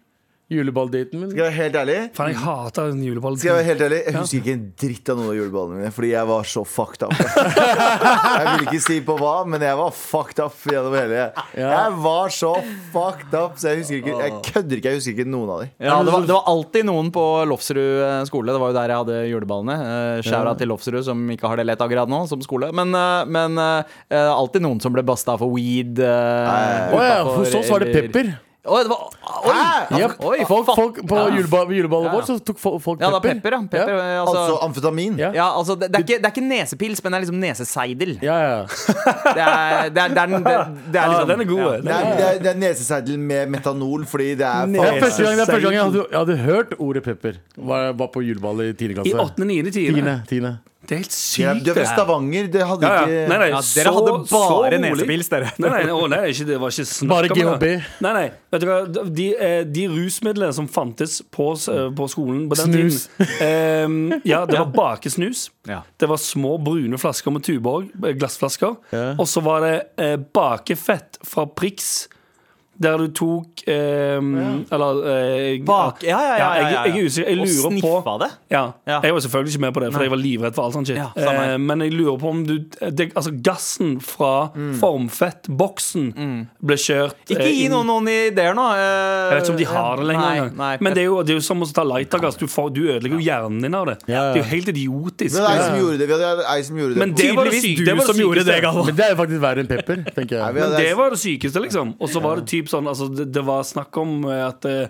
Speaker 6: Juleballdaten min.
Speaker 5: Skal jeg være helt ærlig?
Speaker 3: Faen, jeg hater den juleball.
Speaker 5: Skal jeg være helt ærlig? Jeg husker ikke en dritt av noen av juleballene mine, fordi jeg var så fucked up. Jeg vil ikke si på hva, men jeg var fucked up gjennom hele. Jeg var så fucked up, så jeg husker ikke Jeg kødder ikke, jeg husker ikke noen av dem.
Speaker 4: Ja, det, var, det var alltid noen på Lofsrud eh, skole. Det var jo der jeg hadde juleballene. Skjæra til Lofsrud, som ikke har det lett akkurat nå, som skole. Men, eh, men eh, eh, alltid noen som ble basta for weed. eh,
Speaker 6: Å ja,
Speaker 4: utenfor,
Speaker 6: hos oss var det
Speaker 4: eller-
Speaker 6: pepper.
Speaker 4: Oi, det var, oi,
Speaker 6: Jep.
Speaker 4: altså, oi
Speaker 6: Folk,
Speaker 4: faen.
Speaker 6: folk På juleba- juleballet
Speaker 4: Ja, ja.
Speaker 6: vårt så tok fo- folk
Speaker 4: Ja, det var
Speaker 6: pepper.
Speaker 4: pepper, ja. Pepper,
Speaker 6: ja.
Speaker 4: eh,
Speaker 5: Altså
Speaker 4: Altså,
Speaker 5: amfetamin.
Speaker 6: Ja.
Speaker 4: ja, altså, det, det, er ikke, det er ikke nesepils, men det er liksom neseseidel.
Speaker 6: Ja, ja.
Speaker 4: Det er, det er, det er, den- det, det er
Speaker 3: Ja,
Speaker 4: liksom
Speaker 3: den er god.
Speaker 5: Det er, det, er, det er neseseidel med metanol, fordi det er
Speaker 6: Det er første gang, det er første gang jeg,
Speaker 3: Seiden.
Speaker 6: hadde, jeg hadde hørt ordet pepper. Var, var på juleballet i tiende
Speaker 3: I
Speaker 6: klasse.
Speaker 3: åttende, niende, tiende.
Speaker 6: Tiende, tiende.
Speaker 3: Det er helt
Speaker 5: De er
Speaker 3: sykt,
Speaker 5: de er fra Stavanger. Det hadde
Speaker 3: Ja, ja.
Speaker 5: ikke
Speaker 3: Nei, nei,
Speaker 4: Ja, dere
Speaker 3: så,
Speaker 4: hadde
Speaker 3: så
Speaker 4: bare
Speaker 3: rolig.
Speaker 4: nesepils, dere.
Speaker 3: Nei, nei, å, nei ikke, det var ikke snakk
Speaker 6: Bare
Speaker 3: om det.
Speaker 6: GHB.
Speaker 3: Nei, nei, vet du hva De, eh, de rusmidlene som fantes på, s- eh, på skolen på den
Speaker 6: Snus.
Speaker 3: tiden eh, Ja, det var bakesnus
Speaker 4: Ja.
Speaker 3: Det var små brune flasker med tuborg eh, Glassflasker Og så var det eh, bakefett fra Prix der du tok eh, Eller eh,
Speaker 4: Bak- ja, ja, ja, ja, ja, ja.
Speaker 3: Jeg, jeg er usikker. Jeg
Speaker 4: Og
Speaker 3: lurer på
Speaker 4: sniffa det?
Speaker 3: Ja.
Speaker 4: Ja.
Speaker 3: Jeg var selvfølgelig ikke med på det, for jeg var livredd for all sånn shit.
Speaker 4: Ja, samme her.
Speaker 3: eh, men jeg lurer på om du det, Altså, gassen fra formfettboksen ble kjørt
Speaker 4: Mm. Ikke
Speaker 3: eh,
Speaker 4: gi
Speaker 3: inn-
Speaker 4: noen noen ideer nå. eh,
Speaker 3: jeg vet ikke om de har det lenger.
Speaker 4: Nei,
Speaker 3: engang.
Speaker 4: nei,
Speaker 3: men det er, jo, det er jo som å ta lightergass. Du, får- du ødelegger jo hjernen din av det.
Speaker 6: Ja, ja.
Speaker 3: Det er jo helt idiotisk.
Speaker 5: Men det er liksom- ei som gjorde det. Vi hadde ei som gjorde det.
Speaker 3: Men det var det
Speaker 4: Tydeligvis
Speaker 3: syk-
Speaker 4: du
Speaker 3: det var det
Speaker 4: som gjorde
Speaker 3: sykeste.
Speaker 4: det, Galvan.
Speaker 6: Men det er jo faktisk verre enn pepper, tenker
Speaker 5: Nei,
Speaker 6: jeg.
Speaker 5: vi hadde
Speaker 3: Men det
Speaker 5: ei-
Speaker 3: var det sykeste, liksom. Og så var det typ sånn altså, det, det var snakk om eh, at uh,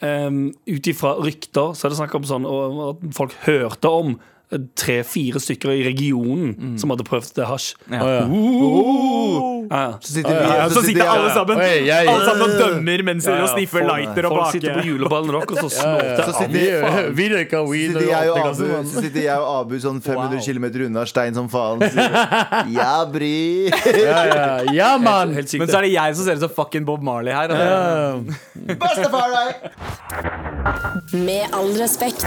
Speaker 3: Ut ifra rykter så er det snakk om sånn og, og at folk hørte om eh, tre-fire stykker i regionen som hadde prøvd det hasj.
Speaker 4: Ja.
Speaker 6: ja.
Speaker 3: Uh, ja.
Speaker 5: Så sitter vi-
Speaker 4: Ja, så sitter alle sammen
Speaker 6: Oi, jeg-
Speaker 4: Alle sammen og dømmer mens de
Speaker 3: Ja, ja,
Speaker 4: sniffer
Speaker 3: folk-
Speaker 4: lighter og
Speaker 3: Folk sitter på
Speaker 4: bake.
Speaker 3: juleballen rock og så snorter
Speaker 5: Så sitter
Speaker 6: Vi,
Speaker 5: jeg-
Speaker 6: vi røyka
Speaker 5: Så
Speaker 6: weed
Speaker 5: sitter jeg og
Speaker 6: alt det
Speaker 5: Abu,
Speaker 6: ganske,
Speaker 5: så
Speaker 6: mann.
Speaker 5: sitter jeg og Abu sånn 500
Speaker 4: Wow.
Speaker 5: km unna, stein som faen. så sier jeg, Ja, bry.
Speaker 6: Ja, ja, ja mann!
Speaker 3: Helt sykt.
Speaker 4: Men så er det jeg som ser ut som fucking Bob Marley her. altså. og det-
Speaker 5: Bestefar, nei!
Speaker 1: Med all respekt.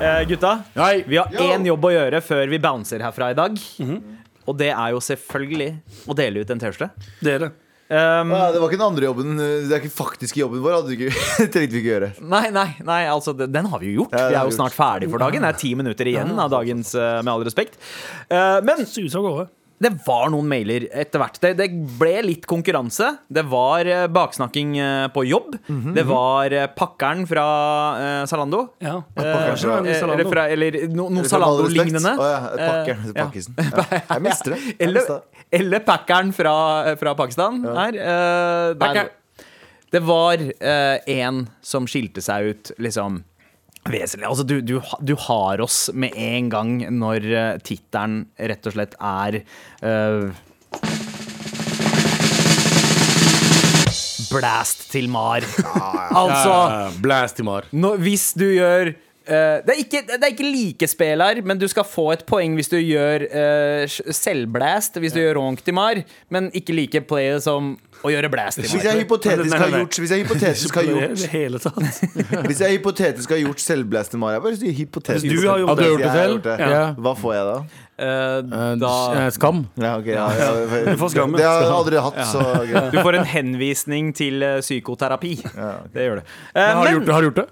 Speaker 4: Eh, gutta,
Speaker 6: Nei,
Speaker 4: vi har én jobb å gjøre før vi bouncer herfra i dag.
Speaker 3: Mhm.
Speaker 4: Og det er jo selvfølgelig å dele ut en T-skjorte.
Speaker 3: det er det.
Speaker 4: Um,
Speaker 5: Ja, det var ikke den andre jobben. eh, Det er ikke faktiske jobben vår. Hadde vi ikke, trengte vi ikke gjøre.
Speaker 4: Nei, nei, nei, altså den, den har vi jo gjort.
Speaker 5: Ja, den
Speaker 4: vi er
Speaker 5: har
Speaker 4: jo
Speaker 5: vi
Speaker 4: snart ferdig for dagen. Det er ti minutter igjen av dagens, eh, med all respekt. Eh, Men
Speaker 3: Suser av gårde.
Speaker 4: det var noen mailer etter hvert. Det, det ble litt konkurranse. Det var eh, baksnakking eh, på jobb.
Speaker 3: Mhm,
Speaker 4: Det var eh, pakkeren fra eh, Zalando.
Speaker 3: Ja.
Speaker 5: pakker fra-
Speaker 3: Kanskje det er
Speaker 4: Eh,
Speaker 3: Zalando.
Speaker 4: Eller, fra, eller no, noe
Speaker 5: Eller med all respekt.
Speaker 4: Zalando-lignende.
Speaker 5: Å, ja, pakkeren,
Speaker 4: Eh, ja.
Speaker 5: pakkisen. Ja. Jeg mister det. Jeg mister
Speaker 4: Eller,
Speaker 5: det.
Speaker 4: eller pakkeren fra, fra Pakistan her. Eh,
Speaker 5: Pakker.
Speaker 4: der, det var eh, en som skilte seg ut, liksom. Vesentlig. Altså, du, du, ha- du har oss med en gang når uh, tittelen rett og slett er eh, Blast til Mar. Altså
Speaker 6: Blast i mar.
Speaker 4: nå, hvis du gjør eh, det, er ikke, det er ikke likespill her, men du skal få et poeng hvis du gjør eh, selvblast. Hvis du gjør ronktimar, men ikke like playet som å gjøre
Speaker 5: Hvis
Speaker 4: blastimar.
Speaker 5: jeg hypotetisk
Speaker 3: Nei,
Speaker 5: har
Speaker 3: nei, nei.
Speaker 5: gjort Hvis jeg hypotetisk har
Speaker 3: I
Speaker 5: gjort
Speaker 3: det hele tatt.
Speaker 5: Hvis jeg hypotetisk har gjort selvblæste Mara Bare si hypotetisk.
Speaker 3: Du har gjort
Speaker 5: Hvis jeg
Speaker 3: det.
Speaker 6: Har du gjort det
Speaker 5: har
Speaker 6: selv?
Speaker 5: gjort det.
Speaker 6: Ja.
Speaker 5: Hva får jeg da?
Speaker 4: Eh, da
Speaker 6: Eh, Skam.
Speaker 5: Ja, ok, ja, ja, ja.
Speaker 3: får skamme.
Speaker 5: Det har jeg aldri hatt, så greit.
Speaker 4: du får en henvisning til eh, psykoterapi. Det gjør du. Eh,
Speaker 6: Har du gjort det? Har du gjort det?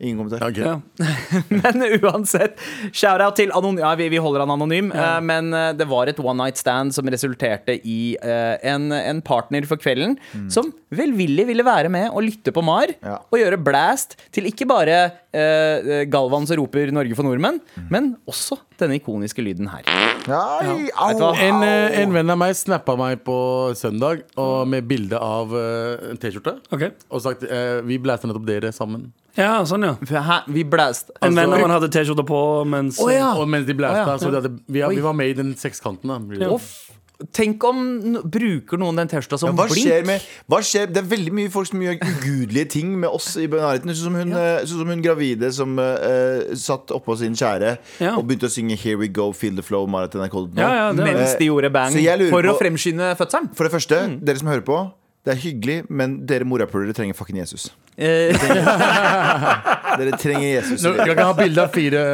Speaker 5: Ingen
Speaker 6: Ja,
Speaker 5: kommentar.
Speaker 6: ok.
Speaker 3: Ja.
Speaker 4: Men uansett, shout-out til anonym Ja, vi, vi holder han anonym, eh, men eh, det var et one night stand som resulterte i eh, en, en partner for kvelden som velvillig ville være med og lytte på MAR
Speaker 5: Mm. Ja.
Speaker 4: og gjøre blast til ikke bare eh, Galvan som roper 'Norge for nordmenn',
Speaker 5: Mm.
Speaker 4: men også denne ikoniske lyden her.
Speaker 5: Nei, au,
Speaker 4: du hva?
Speaker 5: au.
Speaker 6: En, eh, en venn av meg snappa meg på søndag og med bilde av eh, en T-skjorte.
Speaker 3: Ok.
Speaker 6: Og sagt eh, vi blæsta nettopp dere sammen.
Speaker 3: ja, sånn, ja.
Speaker 4: Hæ? Vi blast
Speaker 3: En venn av han hadde T-skjorte på mens
Speaker 4: Å, ja.
Speaker 6: Og mens de blæsta,
Speaker 4: Å, ja.
Speaker 6: så de hadde, vi,
Speaker 4: Oi.
Speaker 6: vi var med i den sekskanten. Da.
Speaker 4: Å, f- Altså, Tenk om no bruker noen den T-skjorta
Speaker 5: Ja,
Speaker 4: som
Speaker 5: hva
Speaker 4: blink.
Speaker 5: skjer med, hva skjer, det er veldig mye folk som gjør ugudelige ting med oss i nærheten. Sånn som hun, eh, sånn som hun gravide som eh, satt oppå sin kjære
Speaker 3: Ja.
Speaker 5: og begynte å synge 'Here We Go, Feel The Flow', Marit NRK. Eh,
Speaker 3: Ja, ja, det
Speaker 4: Mens de gjorde bang
Speaker 5: Så jeg lurer
Speaker 4: for å
Speaker 5: på-
Speaker 4: fremskynde fødselen.
Speaker 5: For det første, dere som hører på, det er hyggelig, men dere morapulere trenger fucking Jesus.
Speaker 4: Eh,
Speaker 5: Dere trenger Jesus.
Speaker 6: Nå, jeg kan ha bilde av fire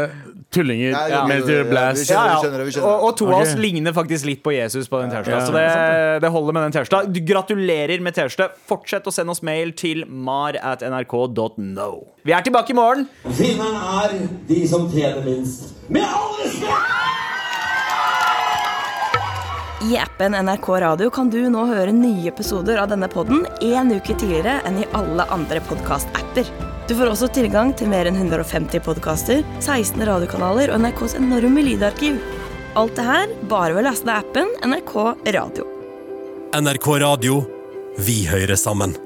Speaker 6: tullinger
Speaker 5: Nei, ja,
Speaker 6: mens de
Speaker 5: ja,
Speaker 6: gjør blast.
Speaker 5: ja,
Speaker 4: Ja, ja.
Speaker 5: Vi skjønner det, vi skjønner det.
Speaker 4: Og, og to av
Speaker 6: Ok.
Speaker 4: oss ligner faktisk litt på Jesus på den T-skjorta.
Speaker 6: Ja,
Speaker 4: Så det, det holder med den T-skjorta. Du- Gratulerer med T-skjorte. Fortsett å sende oss mail til mar at nrk.no. Vi er tilbake i morgen.
Speaker 2: Vinneren er de som tjener minst. Med all respekt!
Speaker 8: I appen NRK Radio kan du nå høre nye episoder av denne podden en uke tidligere enn i alle andre podcast-apper. Du får også tilgang til mer enn 150 podcaster, 16 radiokanaler og NRKs enorme lydarkiv. Alt det her bare ved å laste ned appen NRK Radio.
Speaker 9: NRK Radio. Vi hører sammen.